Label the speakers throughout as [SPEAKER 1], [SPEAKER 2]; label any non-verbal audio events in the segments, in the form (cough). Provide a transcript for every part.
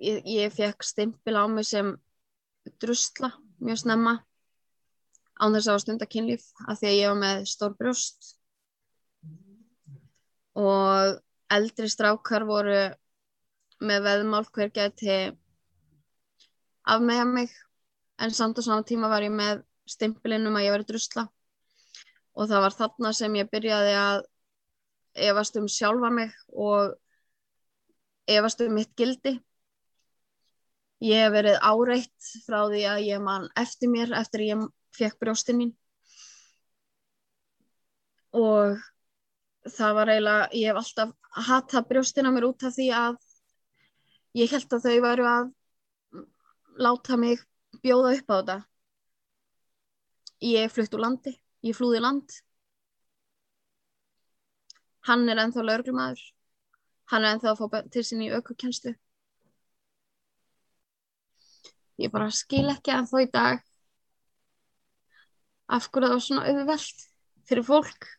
[SPEAKER 1] ég, ég fekk stimpil á mig sem drusla mjög snemma án þess að hafa stunda kynlíf af því að ég var með stór brjóst og eldri strákar voru með veðmál hver geti afmega mig en samt á sama tíma var ég með stimpilinn um að ég veri drusla og það var þarna sem ég byrjaði að efast um sjálfa mig og efast um mitt gildi ég hef verið áreitt frá því að ég man eftir mér eftir að ég fekk brjóstin mín og það var eiginlega, ég hef alltaf hatað brjóstina mér út af því að ég held að þau væru að láta mig bjóða upp á þetta ég flutt úr landi ég flúði land hann er ennþá lögurmaður hann er ennþá að fá börn til sín í aukvökkjænstu ég bara skil ekki ennþá í dag af hverju það var svona auðvelt fyrir fólk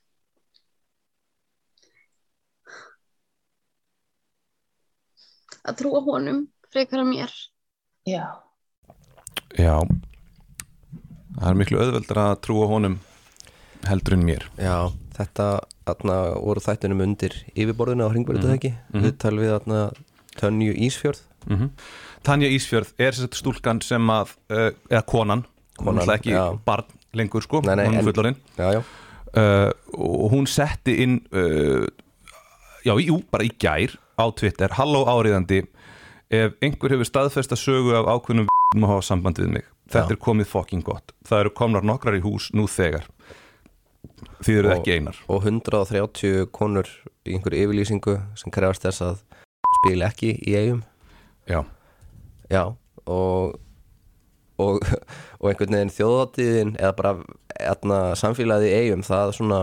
[SPEAKER 1] að trúa honum frekar að mér
[SPEAKER 2] Já,
[SPEAKER 3] Já Það er miklu auðveldar að trúa honum heldur en mér
[SPEAKER 4] Já, þetta atna, voru þættunum undir yfirborðinu á hringverðu mm -hmm. ekki Við talum við atna, Tönju Ísfjörð
[SPEAKER 3] mm Tanja Ísfjörð er sér stúlkan sem að uh, eða konan, hún
[SPEAKER 4] Konan,
[SPEAKER 3] er náttúrulega ekki
[SPEAKER 4] já.
[SPEAKER 3] barn lengur sko,
[SPEAKER 4] Nei, nei,
[SPEAKER 3] hún er
[SPEAKER 4] en-
[SPEAKER 3] fullorinn
[SPEAKER 4] Já, já,
[SPEAKER 3] uh, og hún setti inn uh, já, jú, bara í gær á Twitter, halló áriðandi ef einhver hefur staðfesta sögu af ákveðnum (laughs) v***um að hafa samband við mig þetta
[SPEAKER 4] Já.
[SPEAKER 3] er komið fokking gott, það eru komnar nokkrar í hús nú þegar þið eru
[SPEAKER 4] Og-
[SPEAKER 3] ekki einar
[SPEAKER 4] og 130 konur í einhverju yfirlýsingu sem krefast þess að spila ekki í eigum
[SPEAKER 3] já,
[SPEAKER 4] Já, og og, (laughs) og einhvern veginn þjóðatíðin eða bara atna, samfélagið í eigum það svona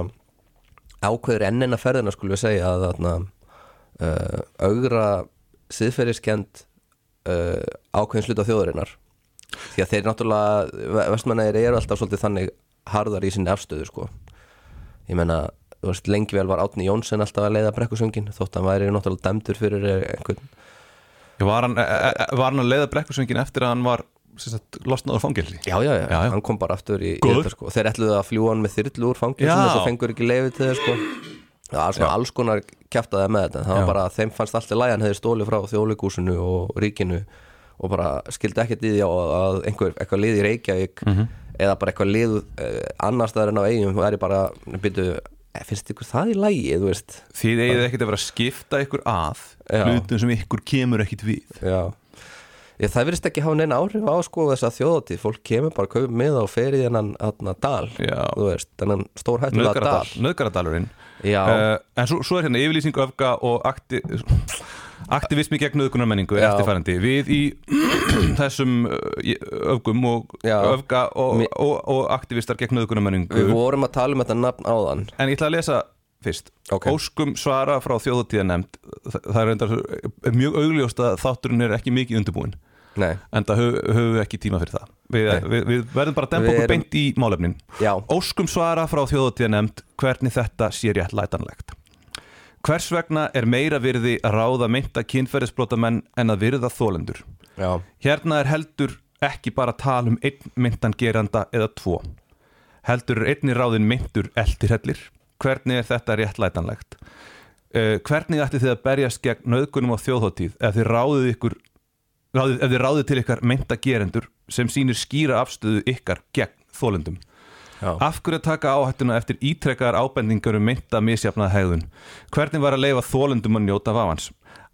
[SPEAKER 4] ákveður ennina ferðina skulum við segja að atna, uh, augra siðferðiskend uh, ákveðin sluta þjóðurinnar því að þeir náttúrulega vestmennir eru alltaf svolítið þannig harðar í sinni afstöðu sko ég meina, þú veist, lengi vel var Átni Jónsson alltaf að leiða brekkusöngin þótt hann væri náttúrulega dæmdur fyrir einhvern
[SPEAKER 3] já var, hann, e- e- e- var hann að leiða brekkusöngin eftir að hann var sem sagt, losnaður fangilsi
[SPEAKER 4] já, já, já,
[SPEAKER 3] Já, já.
[SPEAKER 4] hann kom bara aftur í, í
[SPEAKER 3] Góður.
[SPEAKER 4] þetta sko. þeir ætluðu að fljúa hann með þyrlu úr fangilsum
[SPEAKER 3] Já.
[SPEAKER 4] þess að fengur ekki leiði til þess sko. það var svona alls konar kjæftaði með þetta það
[SPEAKER 3] Já.
[SPEAKER 4] var bara að þeim fannst alltaf læg hann hefði stólið frá þjóðleikúsinu og ríkinu og bara skildi ekkert í því á að að einhver, eitthvað lið í Reykjavík
[SPEAKER 3] Mhm.
[SPEAKER 4] eða bara eitthvað lið eh, annars staðar en á eigum og er ég bara, byrju, finnst ykkur það í lægi, þú veist
[SPEAKER 3] þið eigið ekkert að vera að skipta ykkur að
[SPEAKER 4] Já.
[SPEAKER 3] hlutum sem ykkur kemur ekkit við
[SPEAKER 4] Já Ég, það verðist ekki hafa neina áhrif á sko þess að þjóðatíð, fólk kemur bara að kaupa með og fer í þennan þarna dal
[SPEAKER 3] Já.
[SPEAKER 4] þú veist, þennan stór hættulega
[SPEAKER 3] Nauðgaradal,
[SPEAKER 4] dal
[SPEAKER 3] Nauðgaradalurinn
[SPEAKER 4] Já.
[SPEAKER 3] Eh, En svo, svo er hérna yfirlýsing öfga og akti, aktivismi gegn nauðgunar menningu er
[SPEAKER 4] Já.
[SPEAKER 3] eftirfærandi Við í (clears throat) þessum eh, öfgum og
[SPEAKER 4] Já.
[SPEAKER 3] öfga og,
[SPEAKER 4] Mi-
[SPEAKER 3] og, og aktivistar gegn nauðgunar menningu
[SPEAKER 4] Við vorum að tala um þetta nafn áðan
[SPEAKER 3] En ég ætla að lesa fyrst
[SPEAKER 4] Ok.
[SPEAKER 3] Óskum svara frá þjóðatíðanemnd Þa, Það er reyndar er mjög augljóst að þátturinn er ekki mikið undirbúin
[SPEAKER 4] Nei,
[SPEAKER 3] En það höfum hö, við ekki tíma fyrir það Við,
[SPEAKER 4] Nei.
[SPEAKER 3] við, við verðum bara að dempa
[SPEAKER 4] Við
[SPEAKER 3] okkur
[SPEAKER 4] erum-
[SPEAKER 3] beint í málefnin
[SPEAKER 4] já,
[SPEAKER 3] Óskum svara frá þjóðatíðanemnd hvernig þetta sé rétt lætanlegt. Hvers vegna er meira virði að ráða meinta kynferðisbrotamenn en að virða þólendur?
[SPEAKER 4] já,
[SPEAKER 3] Hérna er heldur ekki bara tal um einn meintan geranda eða tvo. Heldur er einni ráðin meintur eldirhellir. Hvernig er þetta réttlætanlegt? Uh, hvernig ætti þið að berjast gegn nöðgunum á þjóðhóttíð ef þið ráðið ykkur ráðið, ef þið ráðið til ykkar meinta gerendur sem sýnir skýra afstöðu ykkar gegn þólendum?
[SPEAKER 4] já,
[SPEAKER 3] Af hverju að taka áhættuna eftir ítrekkaðar ábendingar um mynda misjafnað hegðun? Hvernig var að leifa þólendum að njóta vafans?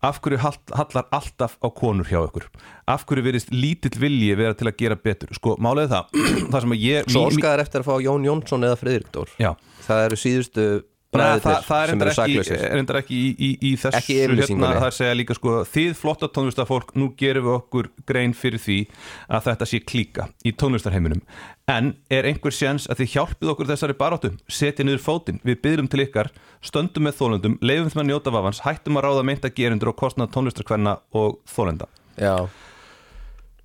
[SPEAKER 3] Af hverju hall- hallar alltaf á konur hjá ykkur? Af hverju verist lítill vilji vera til að gera betur? Sko, málega það, (clears throat) það sem að ég... mí-
[SPEAKER 4] Svo
[SPEAKER 3] mí-
[SPEAKER 4] óskaðar eftir að fá Jón Jónsson eða Friðrik Dór
[SPEAKER 3] Já,
[SPEAKER 4] Það eru síðustu
[SPEAKER 3] Nei,
[SPEAKER 4] bræðirnir
[SPEAKER 3] það, það er
[SPEAKER 4] sem
[SPEAKER 3] reyndar
[SPEAKER 4] eru
[SPEAKER 3] ekki,
[SPEAKER 4] saklausir
[SPEAKER 3] reyndar ekki í, í, í þessu
[SPEAKER 4] Ekki í yfirlýsingunni.
[SPEAKER 3] það er að segja líka sko þið flotta tónlistafólk, nú gerum við okkur grein fyrir því að þetta sé klíka í tónlistarheiminum en er einhver séns að þið hjálpið okkur þessari barátum, setja niður fótinn við byrjum til ykkar, stöndum með þólendum leifum þeim að njóta vafans, hættum að ráða meinta gerundur og kostna tónlistarkvenna og þólenda
[SPEAKER 4] Já,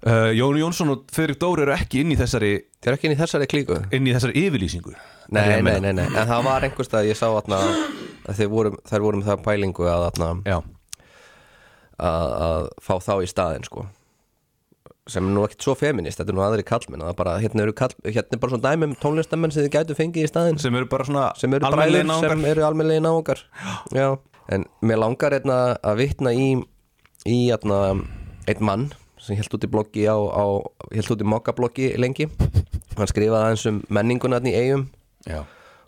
[SPEAKER 3] uh, Jón Jónsson og Fredrik Dóri eru ekki inn í þessari,
[SPEAKER 4] þeir eru ekki inn í þessari klíku
[SPEAKER 3] inn í þessari yfirlýsingu er ég
[SPEAKER 4] Nei,
[SPEAKER 3] að
[SPEAKER 4] nei,
[SPEAKER 3] meina.
[SPEAKER 4] nei, nei, en það var einhverstað ég sá atna, að þeir voru, þær voru með það pælingu að atna,
[SPEAKER 3] Já,
[SPEAKER 4] að, að fá þá í staðin sko sem er nú ekkert svo feminist, þetta er nú aðri kallmenn að það bara, hérna eru kall, hérna er bara svona dæmi um tónlistamenn sem þið gætu fengið í staðin
[SPEAKER 3] sem eru bara svona
[SPEAKER 4] sem eru
[SPEAKER 3] almennilegir
[SPEAKER 4] bræður
[SPEAKER 3] náungar.
[SPEAKER 4] sem eru almennilegi náungar já. en mér langar einna, að vitna í í einna, einn mann sem held út í bloggi á, á held út í mokkabloggi lengi hann skrifaði aðeins um menninguna þarna í eigum
[SPEAKER 3] Já.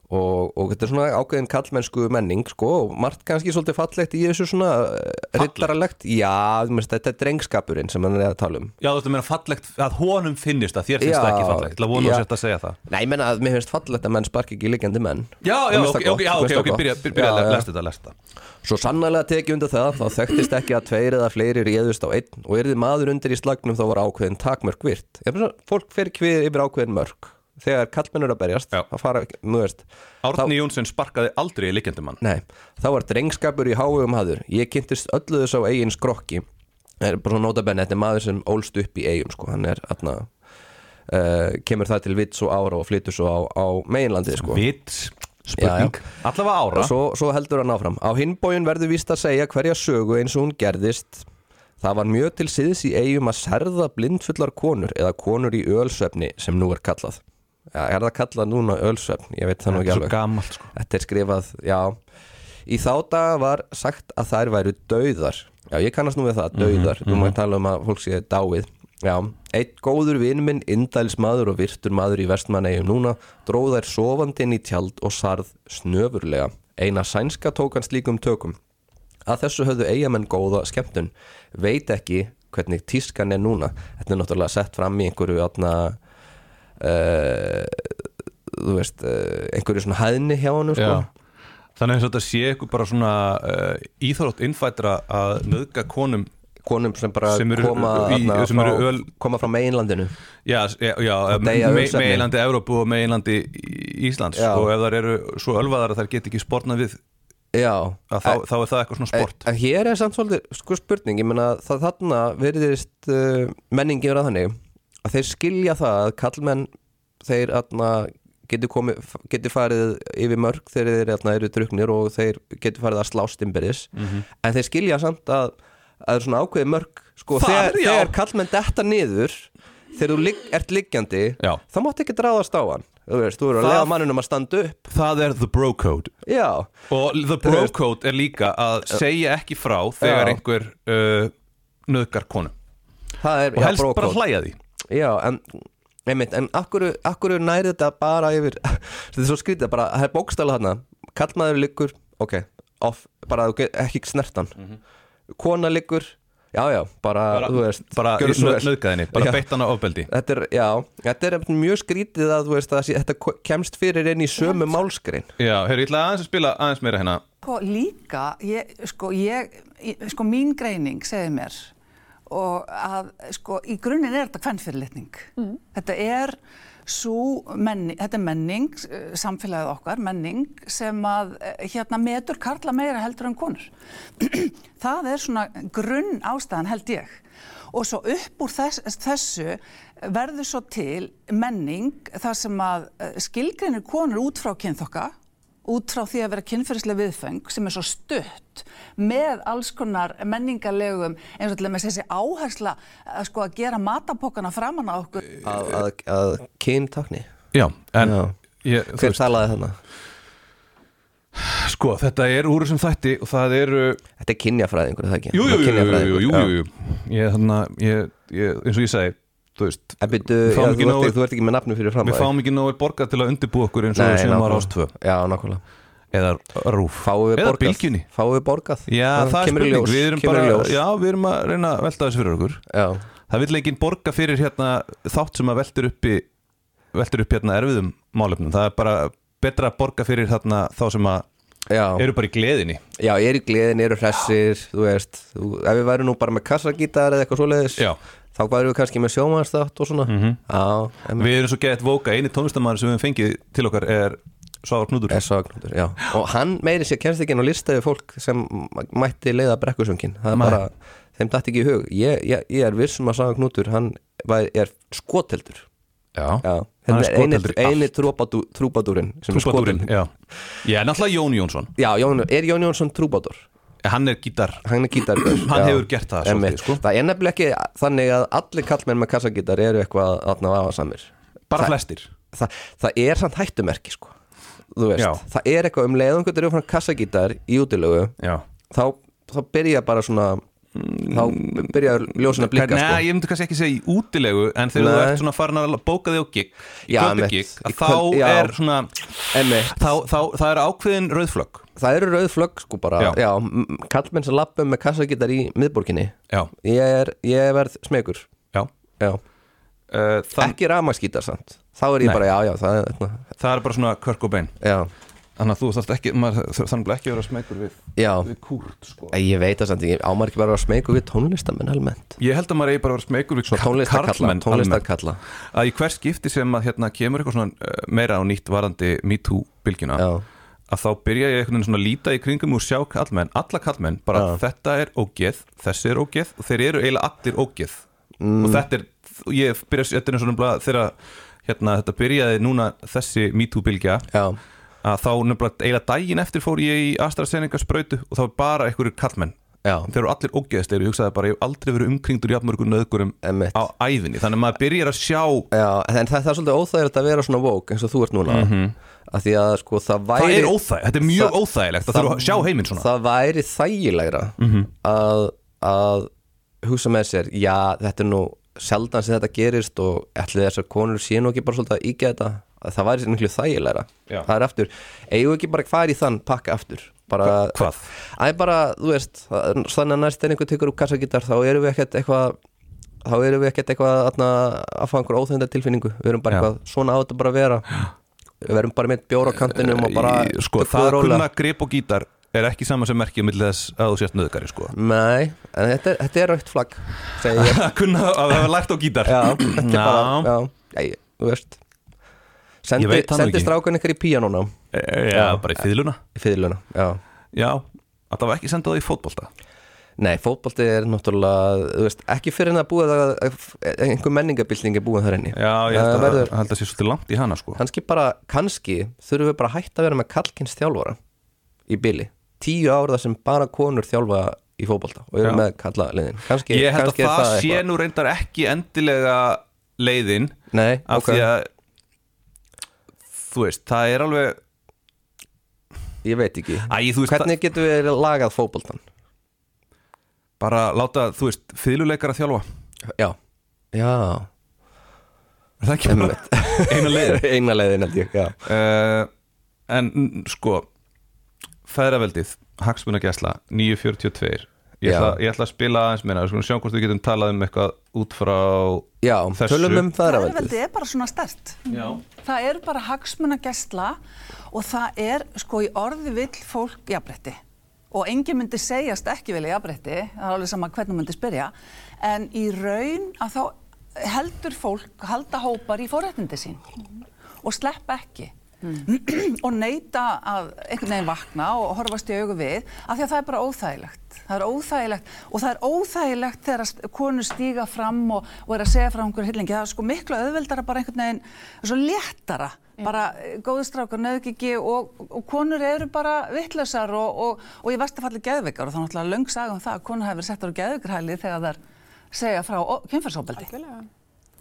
[SPEAKER 4] og, og þetta er svona ákveðin kallmennsku menning sko, og margt kannski svolítið fallegt í þessu svona eh, riddaralegt, já, þú veist, þetta er drengskapurinn sem hann er að tala um
[SPEAKER 3] Já, þú ert að meina fallegt að honum finnist það, þér finnst
[SPEAKER 4] Já.
[SPEAKER 3] það ekki fallegt Það vonum
[SPEAKER 4] Já.
[SPEAKER 3] að sérst að segja það
[SPEAKER 4] Nei, ég menna að mér finnst fallegt að menn sparki ekki liggjandi menn
[SPEAKER 3] Já, já,
[SPEAKER 4] Mér finnst
[SPEAKER 3] ok, ok,
[SPEAKER 4] það gott,
[SPEAKER 3] já,
[SPEAKER 4] mér
[SPEAKER 3] ok, ok,
[SPEAKER 4] finnst það gott.
[SPEAKER 3] byrja, byrja, byrja
[SPEAKER 4] Já, já.
[SPEAKER 3] lest þetta, lest þetta
[SPEAKER 4] Svo sannarlega tekið undir það, þá þekktist ekki að tveir eða fleiri réðust á einn og erði maður undir í slagnum þá var ákveðin takmörk virt. Ég finnst að fólk fer kvið yfir ákveðin mörk. Þegar kallmennur að berjast,
[SPEAKER 3] Já.
[SPEAKER 4] þá fara, ekki- nú veist,
[SPEAKER 3] Árni Jónsson sparkaði aldrei í liggjandi mann
[SPEAKER 4] nei, þá var drengskapur í háum haður. Ég kynntist öllu þess á eigin skrokki. Það er bara svona notabenn, þetta er maður sem ólst upp í eigum, sko, hann er, aðna, uh, kemur það til vitt svo ára og flytur svo á, á meginlandið, sko.
[SPEAKER 3] Vits, spurning, allavega ára
[SPEAKER 4] svo, svo heldur hann áfram Á hinbóin verður víst að segja hverja sögu eins og hún gerðist Það var mjög til síðis í eigum að serða blindfullar konur eða konur í ölsvefni sem nú er kallað ja, Er það kallað núna ölsvefn? Ég veit það nú ekki
[SPEAKER 3] Svo
[SPEAKER 4] alveg
[SPEAKER 3] gamalt, sko
[SPEAKER 4] Þetta er skrifað, já Í þá daga var sagt að þær væru dauðar Já, ég kannast nú við
[SPEAKER 3] Mhm,
[SPEAKER 4] það, dauðar Nú maður tala um að fólk sé dáið Já, eitt góður vinn minn, indælsmaður og virtur maður í vestmanneigum núna dróð þær sofandi inn í tjald og sarð snöfurlega. Eina sænska tók hann slíkum tökum. Að þessu höfðu eigamenn góða skemmtun. Veit ekki hvernig tískan er núna. Þetta er náttúrulega sett fram í einhverju eh, atna, þú veist, eh, einhverju svona hæðni hjá hann sko.
[SPEAKER 3] Já. Þannig að þetta sé eitthvað bara svona uh, íþrótt innfætra að nöðga konum
[SPEAKER 4] konum sem bara
[SPEAKER 3] Sem eru
[SPEAKER 4] koma,
[SPEAKER 3] í-
[SPEAKER 4] þarna
[SPEAKER 3] sem eru
[SPEAKER 4] frá,
[SPEAKER 3] öl-
[SPEAKER 4] koma frá meginlandinu
[SPEAKER 3] já, s- já, já,
[SPEAKER 4] deyja
[SPEAKER 3] me,
[SPEAKER 4] umsefni.
[SPEAKER 3] meginlandi Evrópu og meginlandi Í- Íslands
[SPEAKER 4] Já.
[SPEAKER 3] og ef þær eru svo ölvaðar að þær get ekki sportnað við
[SPEAKER 4] Já, Eh,
[SPEAKER 3] að þá, þá er það eitthvað svona sport
[SPEAKER 4] En, en hér er samt svolítið sko spurning, ég meina það þarna veriðist uh, menningi vera þannig að þeir skilja það að kallmenn þeir atna, getur, komi, getur farið yfir mörg þegar þeir atna, eru druknir og þeir getur farið að slást innbyrðis
[SPEAKER 3] Mhm.
[SPEAKER 4] en þeir skilja samt að að það er svona ákveðið mörg sko,
[SPEAKER 3] Þar,
[SPEAKER 4] þegar,
[SPEAKER 3] já.
[SPEAKER 4] þegar kallmenn detta niður þegar þú ligg, ert liggjandi
[SPEAKER 3] Já.
[SPEAKER 4] þá mátt ekki dráðast á hann þú veist, þú eru að
[SPEAKER 3] Það-
[SPEAKER 4] lega mannunum að standa upp
[SPEAKER 3] Það er the bro code
[SPEAKER 4] já,
[SPEAKER 3] Og the bro code er líka að segja ekki frá þegar
[SPEAKER 4] Já.
[SPEAKER 3] einhver uh, nöðgar konu
[SPEAKER 4] það er
[SPEAKER 3] og
[SPEAKER 4] já,
[SPEAKER 3] helst
[SPEAKER 4] bro
[SPEAKER 3] bara
[SPEAKER 4] code.
[SPEAKER 3] hlæja því
[SPEAKER 4] Já, en einmitt, en akkur, akkur næri þetta bara yfir (laughs) þetta er svo skrítið, bara, það er bókstæla þarna kallmaður liggur, ok off, bara þú get- ekki snertan mm kona liggur, já já bara, þú veist,
[SPEAKER 3] Mhm. bara
[SPEAKER 4] gjörðu svo vel.
[SPEAKER 3] nöðga þinni, bara
[SPEAKER 4] Já.
[SPEAKER 3] beitt hana ofbeldi
[SPEAKER 4] þetta er, já, þetta er einmitt mjög skrítið að þú veist að það sé- þetta ko- kemst fyrir inn í sömu málskrin
[SPEAKER 3] Já, heyrðu, ég ætla aðeins að spila aðeins meira hérna
[SPEAKER 2] Sko líka, ég, sko, ég, ég- sko mín greining segir mér og að sko í grunninn er þetta kvennfyrirlitning. Þetta er svo menning, þetta er menning, eh, samfélagið okkar, menning sem að eh, hérna metur karla meira heldur en konur. Það er svona grunn ástæðan held ég. Og svo upp úr þess, þessu verður svo til menning þar sem að eh, skilgreinir konur út frá kynþokka út frá því að vera kynferðislega viðfeng sem er svo stutt með alls konar menningarlegum eins og til dæmis þessi áhersla að, sko, að gera matapokana framan á okkur
[SPEAKER 4] að, að, að kyntakni
[SPEAKER 3] Já, en
[SPEAKER 4] Já.
[SPEAKER 3] Ég, þú
[SPEAKER 4] hver
[SPEAKER 3] veist,
[SPEAKER 4] talaði þarna?
[SPEAKER 3] sko, þetta er úr þessum þætti og það eru
[SPEAKER 4] Þetta er kynjafræðingur, er það ekki?
[SPEAKER 3] Jú, jú, jú, jú, jú,
[SPEAKER 4] Kynjafræðingur,
[SPEAKER 3] jú, jú,
[SPEAKER 4] já.
[SPEAKER 3] jú. Ég, þannig að, ég, ég, eins og ég segi þú veist,
[SPEAKER 4] En byrju,
[SPEAKER 3] Við
[SPEAKER 4] já,
[SPEAKER 3] fáum ekki
[SPEAKER 4] þú, ert-
[SPEAKER 3] nógu-
[SPEAKER 4] þú ert ekki með nafnum fyrir fram
[SPEAKER 3] við fáum ekki nógu borgað til að undirbúa okkur eins og við séum ára ástvö
[SPEAKER 4] Já, nákvæmlega
[SPEAKER 3] eða rúf,
[SPEAKER 4] Fáum við
[SPEAKER 3] eða
[SPEAKER 4] borgað?
[SPEAKER 3] bylgjunni
[SPEAKER 4] Fáum við borgað?
[SPEAKER 3] Já, það, er
[SPEAKER 4] kemur í
[SPEAKER 3] spurning,
[SPEAKER 4] ljós,
[SPEAKER 3] við erum
[SPEAKER 4] kemur í
[SPEAKER 3] bara
[SPEAKER 4] ljós.
[SPEAKER 3] Já, við erum að reyna að velta þessu fyrir okkur
[SPEAKER 4] Já.
[SPEAKER 3] Það vill enginn borga fyrir hérna þátt sem að veltur uppi veltur upp hérna erfiðum málefnum það er bara betra að borga fyrir þarna þá sem að
[SPEAKER 4] Já.
[SPEAKER 3] eru bara í gleðinni
[SPEAKER 4] Já, ég er í gleðin, eru hressir, þú veist þú, Ef við værum nú bara með kassagítar eða eitthvað svoleiðis
[SPEAKER 3] Já. Mhm.
[SPEAKER 4] Þá værum við kannski með sjómannstátt og svona -hmm. Já, en
[SPEAKER 3] Við erum svo gett vóka, eini tónlistamæður sem við höfum fengið til okkar er Svavar Knútur
[SPEAKER 4] er ságnútur, já Og hann meiri sér kemst ekki inn á lista við fólk sem m- mætti leiða brekkusöngin Það er
[SPEAKER 3] Nei.
[SPEAKER 4] bara, þeim dætt ekki í hug Ég, ég, ég er vissum að ságnútur, hann væri, er skoteldur
[SPEAKER 3] Já,
[SPEAKER 4] Já,
[SPEAKER 3] Hann er
[SPEAKER 4] þetta er eini,
[SPEAKER 3] skoteldur í allt.
[SPEAKER 4] eini trúbadú, trúbadúrin sem er
[SPEAKER 3] Trúbadúrinn
[SPEAKER 4] skoteldur.
[SPEAKER 3] Já, ég er náttúrulega Jón Jónsson
[SPEAKER 4] Já, Jón, er Jón Jónsson trúbátor?
[SPEAKER 3] En hann er gítar
[SPEAKER 4] hann er gítargaur
[SPEAKER 3] Hann
[SPEAKER 4] já,
[SPEAKER 3] hefur gert það
[SPEAKER 4] einmitt.
[SPEAKER 3] svolítið, sko.
[SPEAKER 4] það er nefnilega ekki þannig að allir kallmenn með kassagítar eru eitthvað aðna afasamir
[SPEAKER 3] Bara
[SPEAKER 4] það,
[SPEAKER 3] flestir
[SPEAKER 4] það, það er samt hættumerki sko þú veist,
[SPEAKER 3] Já.
[SPEAKER 4] það er eitthvað um leiðum hvernig eru frá kassagítar í útilögu
[SPEAKER 3] Já
[SPEAKER 4] þá, þá byrja bara svona þá byrja ljósin að blika
[SPEAKER 3] Nei,
[SPEAKER 4] sko
[SPEAKER 3] ég myndi kannski ekki segja í útilegu En þegar þú
[SPEAKER 4] Nei.
[SPEAKER 3] ert svona farin að bóka þig á gig Í
[SPEAKER 4] Já,
[SPEAKER 3] kvöldu
[SPEAKER 4] einmitt.
[SPEAKER 3] gig að
[SPEAKER 4] Í kvöld-
[SPEAKER 3] Þá
[SPEAKER 4] já.
[SPEAKER 3] er svona
[SPEAKER 4] Einmitt.
[SPEAKER 3] þá, þá, Það er ákveðin rauðflögg
[SPEAKER 4] það eru rauð flögg sko bara
[SPEAKER 3] Já.
[SPEAKER 4] já. m- kallmenn sem lappum með kassagítar í miðborginni
[SPEAKER 3] Já,
[SPEAKER 4] ég, er, ég verð smegur
[SPEAKER 3] já
[SPEAKER 4] já.
[SPEAKER 3] uh, það,
[SPEAKER 4] ekki rafmagsgítar samt þá er ég
[SPEAKER 3] Nei.
[SPEAKER 4] bara, já, já, það er þarna.
[SPEAKER 3] það er bara svona kvörk og bein
[SPEAKER 4] já,
[SPEAKER 3] Þannig að þú þarft ekki maður, þarf- Þannig að ekki að vera smegur við,
[SPEAKER 4] já
[SPEAKER 3] við kúrt sko.
[SPEAKER 4] Æ, Ég veit það samt, ég ámar ekki bara að smegu við tónlistamenn almennt
[SPEAKER 3] Ég held að maður eigi bara að vera smegur við
[SPEAKER 4] Tónlistarkalla,
[SPEAKER 3] karlmenn almennt.
[SPEAKER 4] tónlistarkalla
[SPEAKER 3] að í hver skipti sem að hérna kemur eitthvað svona uh, meira á nýtt varandi MeToo-bylgjuna
[SPEAKER 4] Já.
[SPEAKER 3] að þá byrja ég einhvern veginn svona að líta í kringum og sjá kallmenn, alla kallmenn, bara þetta er ógeð, þessi er ógeð og þeir eru eiginlega allir ógeð og þetta er, ég byrja, þetta er svona þegar hérna, þetta byrjaði núna þessi MeToo-bylgja
[SPEAKER 4] Já,
[SPEAKER 3] að þá nefnilega eiginlega daginn eftir fór ég í AstraZeneca sprautu og þá var bara einhverju kallmenn
[SPEAKER 4] já,
[SPEAKER 3] þeir eru allir ógeðslegir, ég hugsaði bara ég hef aldrei verið umkringdur jafnmörgum nöðgurum
[SPEAKER 4] Einmitt.
[SPEAKER 3] á æfinni, þannig að maður byrjar að sjá
[SPEAKER 4] já En það, það er svolítið óþægilegt að vera svona vók eins og þú ert núna mm að Því að sko það væri
[SPEAKER 3] Það er óþæg, þetta er mjög
[SPEAKER 4] Það-
[SPEAKER 3] óþægilegt að þurfa að sjá heiminn svona Mhm.
[SPEAKER 4] Það væri þægilegra að, að hugsa með sér Já, þetta er nú sjaldan sem þetta gerist og ætli þessar konur sé nú ekki bara svolítið að ígja þetta að það væri sér miklu þægilegra
[SPEAKER 3] Já.
[SPEAKER 4] það er aftur, eigum við ekki bara hvað er í þann pakka aftur bara,
[SPEAKER 3] Hva- hvað?
[SPEAKER 4] Æ, bara, þú veist, þannig að næst en einhver tekur upp kassagítar þá erum við ekkert eitthvað þá erum við ekkert eitthvað þarna, að fá einhver óþönda tilfinningu við erum bara
[SPEAKER 3] Já.
[SPEAKER 4] eitthvað, svona á þetta bara að
[SPEAKER 3] (gasps)
[SPEAKER 4] vera við erum bara með bjóra á kantinum og bara
[SPEAKER 3] Í- sko,
[SPEAKER 4] tökum
[SPEAKER 3] Það
[SPEAKER 4] við
[SPEAKER 3] að
[SPEAKER 4] rólega.
[SPEAKER 3] kunna grip og gítar er ekki saman sem merkið millir þess að þú sért nöðgari sko.
[SPEAKER 4] Mm. Nei, en þetta er, þetta er raukt flagg segi
[SPEAKER 3] (laughs)
[SPEAKER 4] ég
[SPEAKER 3] að kunna að hafa lært á gítar
[SPEAKER 4] Já, þetta er bara,
[SPEAKER 3] já,
[SPEAKER 4] já, já, ég- þú veist Sendi,
[SPEAKER 3] Ég veit það nú
[SPEAKER 4] sendi
[SPEAKER 3] ekki.
[SPEAKER 4] strákan ykkur í píanóna
[SPEAKER 3] Eh, já, bara í fýðluna
[SPEAKER 4] í fiðluna, já
[SPEAKER 3] Já, að það var ekki sendað í fótbolta
[SPEAKER 4] Nei, fótbolti er náttúrulega, þú veist, ekki fyrir en að búa það að einhver menningabilding er búin þar inni
[SPEAKER 3] Já, ég
[SPEAKER 4] Það
[SPEAKER 3] held að,
[SPEAKER 4] verður,
[SPEAKER 3] held að sé svolítið langt í hana sko.
[SPEAKER 4] kannski bara, kannski þurfum við bara að hætta að vera með kallkins þjálfara í bili, tíu árða sem bara konur þjálfa í fótbolta og eru
[SPEAKER 3] Já.
[SPEAKER 4] með kalla liðin kannski,
[SPEAKER 3] Ég held að
[SPEAKER 4] kannski er
[SPEAKER 3] það, sé
[SPEAKER 4] eitthvað.
[SPEAKER 3] nú reyndar ekki endilega leiðin
[SPEAKER 4] Nei,
[SPEAKER 3] af
[SPEAKER 4] ok,
[SPEAKER 3] því að þú veist, það er alveg
[SPEAKER 4] ég veit ekki
[SPEAKER 3] Æ, þú veist,
[SPEAKER 4] Hvernig getum við lagað fótboltan?
[SPEAKER 3] bara láta, þú veist, fýðluleikar að þjálfa
[SPEAKER 4] Já Já
[SPEAKER 3] Er það ekki bara eina leiðin?
[SPEAKER 4] (laughs) Eina leiðin held ég, já
[SPEAKER 3] Uh, en n- sko, feðraveldið, hagsmuna gæsla, 9.42. Ég
[SPEAKER 4] Já.
[SPEAKER 3] ætla, ég ætla að spila aðeins meina, við skulum sjá hvort við getum talað um eitthvað út frá...
[SPEAKER 4] Já,
[SPEAKER 3] Þessu-
[SPEAKER 4] tölum um feðraveldið
[SPEAKER 2] Feðraveldið er bara svona stert.
[SPEAKER 3] Já.
[SPEAKER 2] Það er bara hagsmuna gæsla og það er sko í orði vill fólk jafnbretti. Og enginn myndi segjast ekki vilja jafnbretti, það er alveg sama hvernig myndi spyrja, en í raun að þá heldur fólk halda hópar í forrættindi sín og sleppa ekki.
[SPEAKER 5] Mm.
[SPEAKER 2] (clears throat) og neita að einhvern veginn vakna og horfast í augu við af því að það er bara óþægilegt það er óþægilegt og það er óþægilegt þegar að st- konur stíga fram og, og er að segja frá einhver hillingi það er sko miklu auðveldara bara einhvern veginn svo léttara bara eh, góðustrákar, nöðgiki og, og konur eru bara vittlausar og, og, og í vestafalli geðveikar og það er náttúrulega löng saga um það að konur hafi verið settar á geðveikarhæli þegar þær segja frá kynferðsóbeldi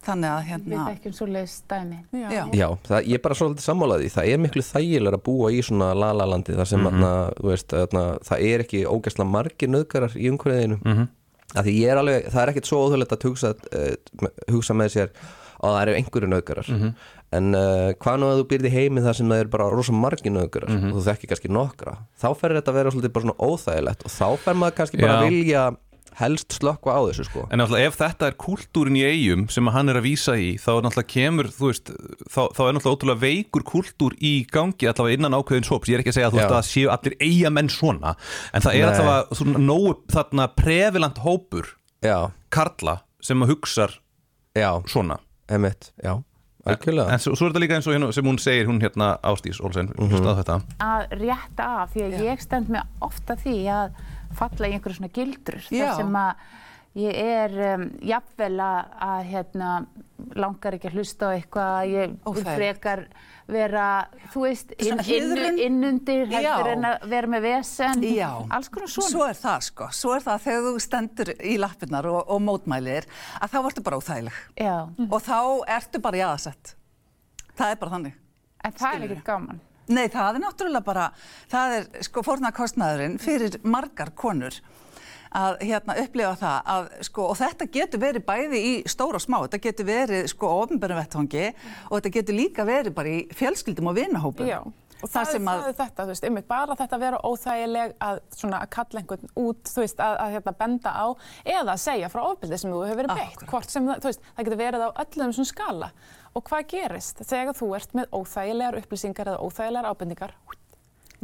[SPEAKER 2] þannig að
[SPEAKER 5] Við
[SPEAKER 2] hérna
[SPEAKER 5] þekkjum svo leiðis dæmi.
[SPEAKER 2] já.
[SPEAKER 4] Já, það, ég er bara svolítið sammálaði Það er miklu þægilega að búa í svona lalalandi
[SPEAKER 3] Mhm.
[SPEAKER 4] þar sem, mm þú veist, þarna, það er ekki ógæslega margir nöðgarar í umhverfiðinu mm
[SPEAKER 3] Mhm.
[SPEAKER 4] -hmm. Því ég er alveg, það er ekkit svo óþjóðlegt að hugsa, uh, hugsa með sér að það eru einhverju nöðgarar
[SPEAKER 3] Mhm.
[SPEAKER 4] En uh, hvað nú að þú býrði heimi þar sem það eru bara rosa margir nöðgarar
[SPEAKER 3] Mhm.
[SPEAKER 4] og þú þekki kannski nokkra Þá fer þetta að vera svolítið bara svona óþægilegt og þá fer maður kannski bara
[SPEAKER 3] Já.
[SPEAKER 4] að vilja helst slökka á þessu sko
[SPEAKER 3] En náttúrulega ef þetta er kúltúrin í eigum sem að hann er að vísa í, þá er náttúrulega kemur, þú veist, þá, þá er náttúrulega ótrúlega veikur kúltúr í gangi allavega innan ákveðins hóps. Ég er ekki að segja að þú
[SPEAKER 4] Já.
[SPEAKER 3] veist að það séu allir eigamenn svona, en það er
[SPEAKER 4] Nei.
[SPEAKER 3] allavega svona nógu þarna previlant hópur
[SPEAKER 4] Já,
[SPEAKER 3] karla sem að hugsa
[SPEAKER 4] já,
[SPEAKER 3] svona.
[SPEAKER 4] emitt, já Algjörlega Mhm.
[SPEAKER 3] En svo, svo er þetta líka eins og hérna, sem hún segir, hún hérna Ástís Olsen, mm -hmm. þetta.
[SPEAKER 5] Að rétta af, því að ég stend með ofta því að falla í einhverju svona gildrur.
[SPEAKER 2] Já.
[SPEAKER 5] Þar sem að ég er um, jafnvel að, að hérna, langar ekki að hlusta á eitthvað, ég vil
[SPEAKER 2] Óþægilegt.
[SPEAKER 5] frekar vera, þú veist, inn,
[SPEAKER 2] Svona
[SPEAKER 5] inn,
[SPEAKER 2] hliðrun.
[SPEAKER 5] innundir, heldur
[SPEAKER 2] Já.
[SPEAKER 5] en að vera með vesen,
[SPEAKER 2] Já.
[SPEAKER 5] alls konar svona.
[SPEAKER 2] Svo er það sko, svo er það þegar þú stendur í lappirnar og, og mótmælir að þá ertu bara óþægileg
[SPEAKER 5] Já,
[SPEAKER 6] Mhm.
[SPEAKER 2] og þá ertu bara jaðasett. Það er bara þannig.
[SPEAKER 5] en það er ekkert gaman.
[SPEAKER 2] Nei, það er náttúrulega bara, það er sko fórnarkostnaðurinn fyrir margar konur að hérna upplifa það að sko, og þetta getur verið bæði í stóra og smá, þetta getur verið sko á ofnbjörnum vettvangi og þetta getur líka verið bara í fjölskyldum og vinahópum.
[SPEAKER 6] Já, og það, er,
[SPEAKER 2] sem að,
[SPEAKER 6] það er þetta, þú veist, einmitt bara þetta að vera óþægileg að svona að kalla einhvern út, þú veist, að, að hérna benda á eða að segja frá ofbeldi sem þú hefur verið beitt,
[SPEAKER 2] Akkúrat.
[SPEAKER 6] hvort sem það, þú veist, það getur verið á öllum svona skala og hvað gerist þegar þú ert með óþægilegar upplýsingar eða óþægilegar ábendingar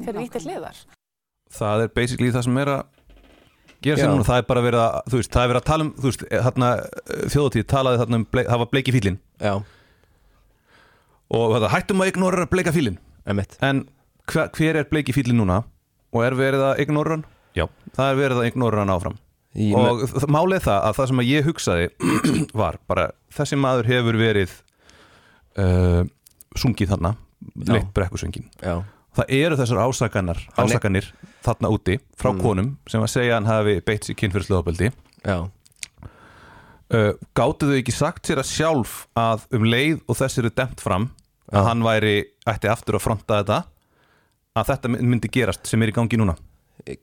[SPEAKER 6] fyrir ítti hliðar.
[SPEAKER 3] það er basically það sem er að gera
[SPEAKER 4] Já.
[SPEAKER 3] sér núna, það er bara verið að þú veist, það er verið að tala um, þú veist, þarna þjóðatíð talaði þarna um, bleik, það var bleiki fílin
[SPEAKER 4] Já,
[SPEAKER 3] og það hættum að ignorera bleika fílin
[SPEAKER 4] emitt
[SPEAKER 3] en hver, hver er bleiki fílin núna og er verið að ignorera hann? Já, það er verið að ignorera hann áfram
[SPEAKER 4] Ég
[SPEAKER 3] og me... málið er það að það sem að ég hugsaði (clears throat) var bara þessi maður hefur verið uh, sungið þarna
[SPEAKER 4] Já.
[SPEAKER 3] leitt brekkusöngin
[SPEAKER 4] Já,
[SPEAKER 3] það eru þessar ásakanar,
[SPEAKER 4] Hann er- Mm.
[SPEAKER 3] ásakanir þarna úti frá konum sem að segja að hann hafi beitt sér kynfyrsluðabildi
[SPEAKER 4] já,
[SPEAKER 3] uh, gáttu þau ekki sagt sér að sjálf að um leið og þess eru demt fram að
[SPEAKER 4] Já.
[SPEAKER 3] hann væri ætti aftur að fronta þetta að þetta my- myndi gerast sem er í gangi núna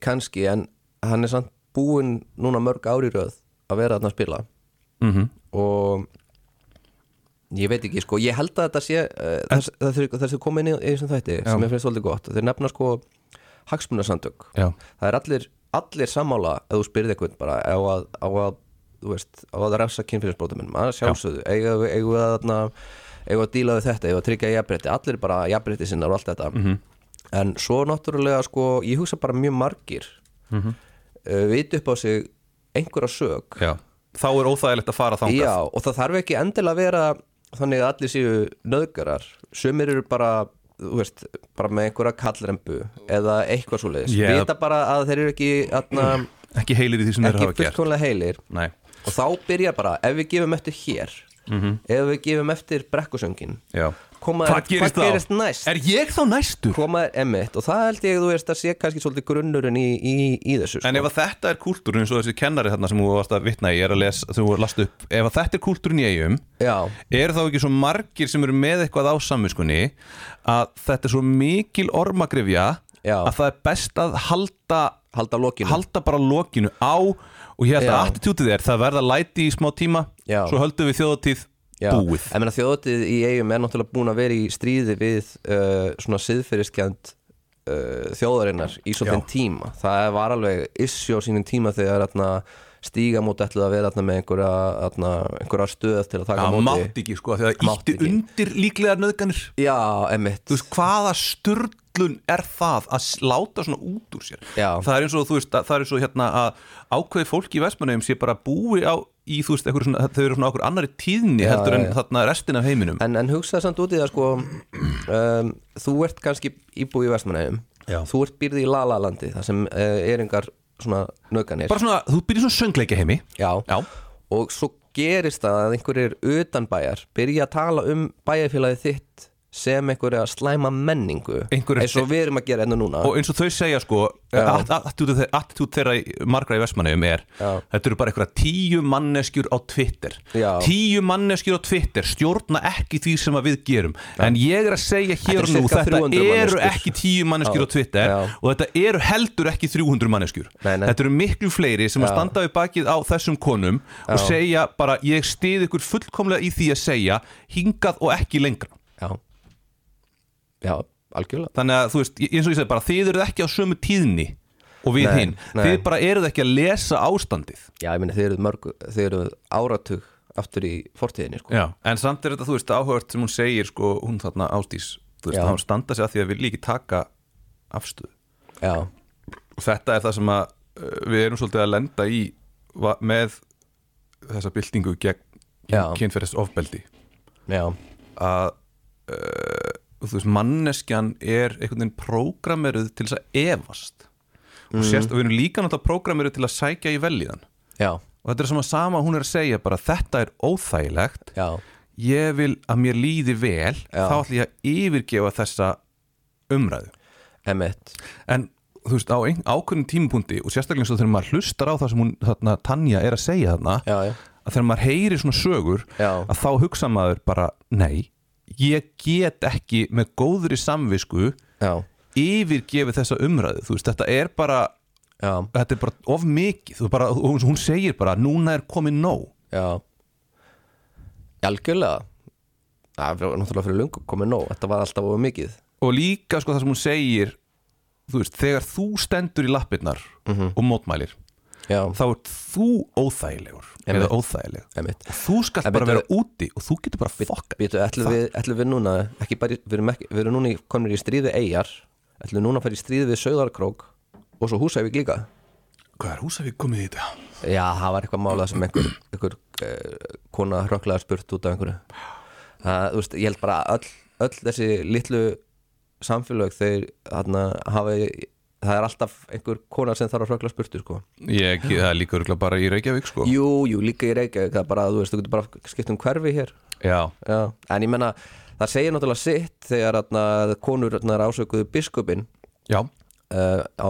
[SPEAKER 4] kannski en hann er samt búinn núna mörg ári röð að vera þarna að spila
[SPEAKER 3] mm
[SPEAKER 4] og ég veit ekki sko, ég held að þetta sé uh, þess, þess, þess að koma inn í, í þessum þætti sem ég finnst svolítið gott, þeir nefna sko hagsmunasandök,
[SPEAKER 3] Já.
[SPEAKER 4] það er allir allir sammála ef þú spyrði eitthvað bara á að, á að þú veist, á að refsa kynfélagsbrótaminn, að sjálfsögðu eigum við- eigum við að þarna eigum við að díla við þetta, eigum við að tryggja jafnbreytti allir bara jafnbreytti sinnar og allt þetta en svo náttúrulega sko, ég hugsa bara mjög margir mm viti upp á sig einhverja sög
[SPEAKER 3] Já. þá er óþægilegt að fara þangað
[SPEAKER 4] Já, og það þarf ekki endilega að vera þannig að allir séu nöðgarar sumir eru bara, þú veist bara með einhverja kallrembu eða eitthvað svoleiðis,
[SPEAKER 3] Já.
[SPEAKER 4] vita bara að þeir eru ekki atna,
[SPEAKER 3] ekki heilir í því sem þeir
[SPEAKER 4] ekki
[SPEAKER 3] hafa gert
[SPEAKER 4] fullkomlega heilir
[SPEAKER 3] Nei.
[SPEAKER 4] og þá byrja bara, ef við gefum eftir hér ef við gefum eftir brekkusöngin
[SPEAKER 3] Mhm. Já.
[SPEAKER 4] Koma-
[SPEAKER 3] hvað gerist,
[SPEAKER 4] hvað
[SPEAKER 3] þá?
[SPEAKER 4] gerist næst?
[SPEAKER 3] er ég þá næstur?
[SPEAKER 4] koma er emitt og það held ég þú veist að sé kannski svolítið grunnurinn í, í, í þessu sko.
[SPEAKER 3] En ef að þetta er kúltúrin, svo þessi kennari þarna sem þú varst að vitna í, er að lesa, þú last upp, ef að þetta er kúltúrin í eigum,
[SPEAKER 4] Já,
[SPEAKER 3] er þá ekki svo margir sem eru með eitthvað á samvinskunni að þetta er svo mikil ormagrifja
[SPEAKER 4] Já.
[SPEAKER 3] að það er best að halda
[SPEAKER 4] halda lokinu
[SPEAKER 3] halda bara lokinu á og ég held
[SPEAKER 4] Já.
[SPEAKER 3] að attitútið er, það verða læti í smá tíma
[SPEAKER 4] Já.
[SPEAKER 3] svo höldum við þjóðatíð
[SPEAKER 4] Já,
[SPEAKER 3] búið
[SPEAKER 4] Ég meina þjóðatíð í eigum er náttúrulega búin að vera í stríði við uh, svona siðferðiskjönd uh, þjóðarinnar í svo þenn tíma. Það var alveg issi á sínum tíma þegar atna, stígamót ætlaði að vera atna, með einhverja, atna, einhverja stöð til að taka á
[SPEAKER 3] Það mátti
[SPEAKER 4] móti.
[SPEAKER 3] ekki sko, þegar það
[SPEAKER 4] Mátti
[SPEAKER 3] ítti
[SPEAKER 4] ekki.
[SPEAKER 3] undir líklega nöðganir
[SPEAKER 4] Já, emmitt.
[SPEAKER 3] þú veist hvaða sturdlun er það að s- láta svona út úr sér
[SPEAKER 4] Já.
[SPEAKER 3] það er eins og þú veist að, það er eins og hérna að ákveði fólk í Vestmannheim sé bara búi á í þú veist einhverju svona, þau eru svona okkur annari tíðni heldur en þarna restin af heiminum
[SPEAKER 4] En, en hugsaði samt út í það sko, um, þú ert kannski íbúi í Vestmanæðum.
[SPEAKER 3] Já.
[SPEAKER 4] Þú ert býrði í Lalalandi, það sem uh, er engar svona nöðganir.
[SPEAKER 3] bara svona, þú byrjir svona söngleika heimi
[SPEAKER 4] Já.
[SPEAKER 3] Já.
[SPEAKER 4] og svo gerist það að einhverjir utanbæjar byrja að tala um bæjarfélagið þitt sem einhverja slæma menningu
[SPEAKER 3] Einhverjir-
[SPEAKER 4] eins og við erum að gera enna núna
[SPEAKER 3] og eins og þau segja sko attitút þeirra í- margra í Vestmannheim er
[SPEAKER 4] Já.
[SPEAKER 3] þetta eru bara einhverja tíu manneskjur á Twitter
[SPEAKER 4] Já.
[SPEAKER 3] tíu manneskjur á Twitter stjórna ekki því sem að við gerum en ég er að segja hér og
[SPEAKER 4] Þetta er
[SPEAKER 3] nú
[SPEAKER 4] cirka
[SPEAKER 3] þetta
[SPEAKER 4] 300
[SPEAKER 3] eru
[SPEAKER 4] manneskjur.
[SPEAKER 3] ekki tíu manneskjur
[SPEAKER 4] Já.
[SPEAKER 3] á Twitter
[SPEAKER 4] Já.
[SPEAKER 3] og þetta eru heldur ekki 300 manneskjur
[SPEAKER 4] Nei, nei.
[SPEAKER 3] þetta eru miklu fleiri sem að
[SPEAKER 4] Já.
[SPEAKER 3] standa við bakið á þessum konum og segja bara ég stið ykkur fullkomlega í því að segja hingað og ekki lengra
[SPEAKER 4] já. já, algjörlega
[SPEAKER 3] þannig að þú veist, ég- eins og ég segi bara þið eruð ekki á sömu tíðni og við
[SPEAKER 4] Nei,
[SPEAKER 3] hinn,
[SPEAKER 4] nei.
[SPEAKER 3] þið bara eruð ekki að lesa ástandið
[SPEAKER 4] já, ég meina þeir eru mörg, þeir eru áratug aftur í fortíðinni sko.
[SPEAKER 3] Já. en samt er þetta, þú veist, áhört sem hún segir sko, hún þarna ástís, þú veist,
[SPEAKER 4] Já.
[SPEAKER 3] hann standa sig að því að við líki taka afstöðu
[SPEAKER 4] já,
[SPEAKER 3] og þetta er það sem að uh, við erum svolítið að lenda í va- með þessa byltingu
[SPEAKER 4] Já.
[SPEAKER 3] gegn kynferðis ofbeldi
[SPEAKER 4] já,
[SPEAKER 3] að uh, þú veist, manneskjan er einhvern veginn prógrameruð til þess að efast og sérst, og við erum líka náttúrulega prógrameruð til að sækja í velíðan
[SPEAKER 4] já,
[SPEAKER 3] og þetta er sem að sama hún er að segja bara þetta er óþægilegt
[SPEAKER 4] já
[SPEAKER 3] ég vil að mér líði vel
[SPEAKER 4] Já.
[SPEAKER 3] þá ætlum ég að yfirgefa þessa umræðu
[SPEAKER 4] Emmett
[SPEAKER 3] en þú veist á ein, ákveðin tímapunkti og sérstaklega eins og þegar maður hlustar á það sem hún þarna, Tanja er að segja þarna
[SPEAKER 4] Já, já.
[SPEAKER 3] að þegar maður heyri svona sögur
[SPEAKER 4] Já.
[SPEAKER 3] að þá hugsa maður bara nei, ég get ekki með góðri samvisku
[SPEAKER 4] Já,
[SPEAKER 3] yfirgefi þessa umræðu þú veist, þetta er bara
[SPEAKER 4] já,
[SPEAKER 3] þetta er bara of mikið þú bara, hún, hún segir bara, núna er komið nóg
[SPEAKER 4] já Algjörlega Það var náttúrulega fyrir lungu komið nóg Þetta var alltaf of mikið
[SPEAKER 3] og líka sko það sem hún segir þú veist, þegar þú stendur í lappirnar
[SPEAKER 4] Mhm.
[SPEAKER 3] og mótmælir
[SPEAKER 4] Já,
[SPEAKER 3] þá ert þú óþægilegur
[SPEAKER 4] Einmitt.
[SPEAKER 3] eða óþægileg
[SPEAKER 4] Emmett
[SPEAKER 3] og þú skalt
[SPEAKER 4] En
[SPEAKER 3] bara
[SPEAKER 4] bíddu-
[SPEAKER 3] vera úti og þú getur bara fokka
[SPEAKER 4] Býtu, ætlum við, ætlum við núna ekki bara, í- við, erum ekki, við erum núna í, komnir í stríði eigjar ætlum við núna að fara í stríði við Sauðarkrók og svo Húsavík líka
[SPEAKER 3] hvað er Húsavík komið í þetta?
[SPEAKER 4] Já, það var eitthvað málað sem einhver, einhver uh, kona hrökklaði spurt út af einhverju það, þú veist, ég held bara að öll, öll þessi litlu samfélög þeir þarna hafi það er alltaf einhver kona sem þarf að hrökla spurtu sko.
[SPEAKER 3] Ég, það er líka örgulega bara í Reykjavík sko
[SPEAKER 4] Jú, jú, líka í Reykjavík það er bara, þú veist, þú getur bara skipt um hverfi hér
[SPEAKER 3] Já,
[SPEAKER 4] Já, en ég menna það segir náttúrulega sitt þegar atna, konur atna, ásökuðu biskupin
[SPEAKER 3] já,
[SPEAKER 4] uh, á,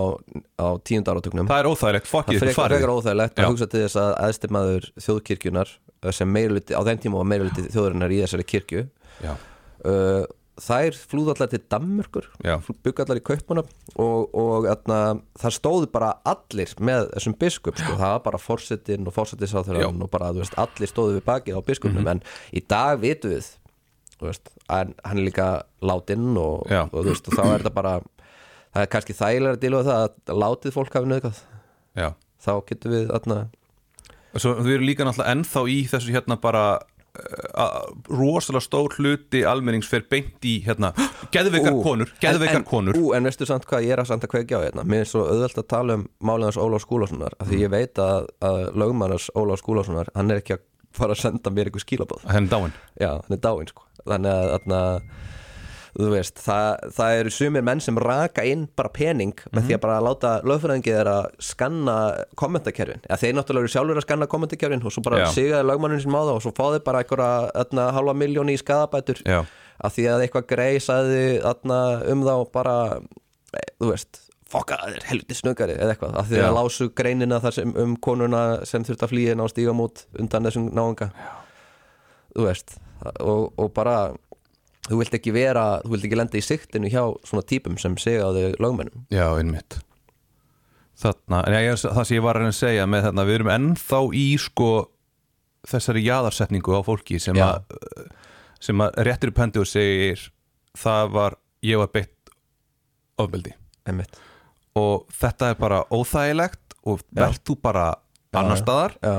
[SPEAKER 4] á tíund áratögnum
[SPEAKER 3] það er óþægilegt, fokkið
[SPEAKER 4] frekar,
[SPEAKER 3] ykkur farið
[SPEAKER 4] frekar óþægilegt
[SPEAKER 3] Já.
[SPEAKER 4] að hugsa til þess að aðstimaður þjóðkirkjunar uh, sem meirluti, á þeim tíma var meirluti þjóðurinnar í þessari kirkju
[SPEAKER 3] Já,
[SPEAKER 4] uh, þær flúðu allar til Danmörkur
[SPEAKER 3] Já.
[SPEAKER 4] byggu allar í Kaupunum og, og atna, það stóðu bara allir með þessum biskup sko. það var bara forsetin og forsetinsáþurann
[SPEAKER 3] Já. Mhm.
[SPEAKER 4] og bara, þú veist, allir stóðu við bakið á biskupnum en í dag vitum við þú veist, en hann er líka látinn og,
[SPEAKER 3] Já.
[SPEAKER 4] og, þú veist, og þá er þetta bara það er kannski þægilega að díla við það að látið fólk hafi nöðgat
[SPEAKER 3] já
[SPEAKER 4] þá getum við atna,
[SPEAKER 3] Og Svo við erum líka náttúrulega ennþá í þessu hérna bara eh, að rosalega stór hluti almennings fer beint í hérna (gasps) geðveikar
[SPEAKER 4] Ú,
[SPEAKER 3] konur, geðveikar
[SPEAKER 4] en,
[SPEAKER 3] konur
[SPEAKER 4] en, Ú, en veistu samt hvað ég er að samt að kveikja á hérna Mér er svo auðvelt að tala um máliðans Ólafs Skúlasonar af Því
[SPEAKER 3] Mm.
[SPEAKER 4] ég veit að, að lögmannars Ólafs Skúlasonar Hann er ekki að fara að senda mér einhver skilabóð
[SPEAKER 3] Henni Hérna dáin
[SPEAKER 4] Já, hann er dáinn sko Þannig að, þarna, þú veist, það, það eru sumir menn sem raka inn bara pening með
[SPEAKER 3] Mhm.
[SPEAKER 4] því að bara láta lögfræðingi þeirra skanna kommentakerfin eða þeir náttúrulega eru sjálfur að skanna kommentakerfin og svo bara
[SPEAKER 3] Já.
[SPEAKER 4] sigaði lögmannin sem á það og svo fáði bara einhverja þarna, halva miljóni í skadabætur
[SPEAKER 3] Já.
[SPEAKER 4] að því að eitthvað grei sagði þarna, um þá bara e, þú veist, fokka það er helviti snöggari eða eitthvað, að því
[SPEAKER 3] Já.
[SPEAKER 4] að lásu greinina þar sem um konuna sem þurft að flýja ná stígamót undan þessum náunga þú veist og, og bara, þú vilt ekki vera þú vilt ekki lenda í siktinu hjá svona típum sem segja á þau lögmennum
[SPEAKER 3] Já, einmitt Þarna, en ég, það sem ég var að reyna að segja með þarna, við erum ennþá í sko þessari jaðarsetningu á fólki sem
[SPEAKER 4] Já.
[SPEAKER 3] að sem að réttir upp hendi og segir það var, ég var beitt ofbeldi
[SPEAKER 4] einmitt,
[SPEAKER 3] og þetta er bara óþægilegt og verð þú bara annar
[SPEAKER 4] já.
[SPEAKER 3] staðar
[SPEAKER 4] já,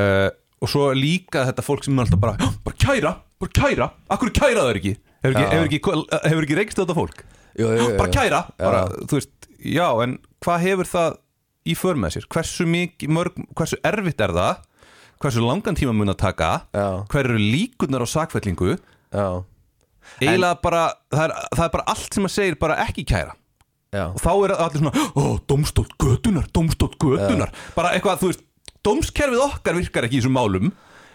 [SPEAKER 3] uh, og svo líka þetta fólk sem er alltaf bara, "Já, bara kæra, bara kæra akkur kæra það er ekki hefur ekki,
[SPEAKER 4] Já.
[SPEAKER 3] hefur ekki, hefur ekki reykst þetta fólk
[SPEAKER 4] jú, jú, jú,
[SPEAKER 3] bara
[SPEAKER 4] jú.
[SPEAKER 3] kæra, bara, þú veist já, en hvað hefur það í för með sér hversu, mikið, mörg, hversu erfitt er það hversu langan tíma mun að taka
[SPEAKER 4] Já.
[SPEAKER 3] hver eru líkunar á sakfellingu
[SPEAKER 4] já,
[SPEAKER 3] eiginlega bara, það er, það er bara allt sem að segir bara ekki kæra
[SPEAKER 4] já,
[SPEAKER 3] og þá er allir svona, ó, domstótt gödunar domstótt gödunar, bara eitthvað þú veist, domskerfið okkar virkar ekki í þessum málum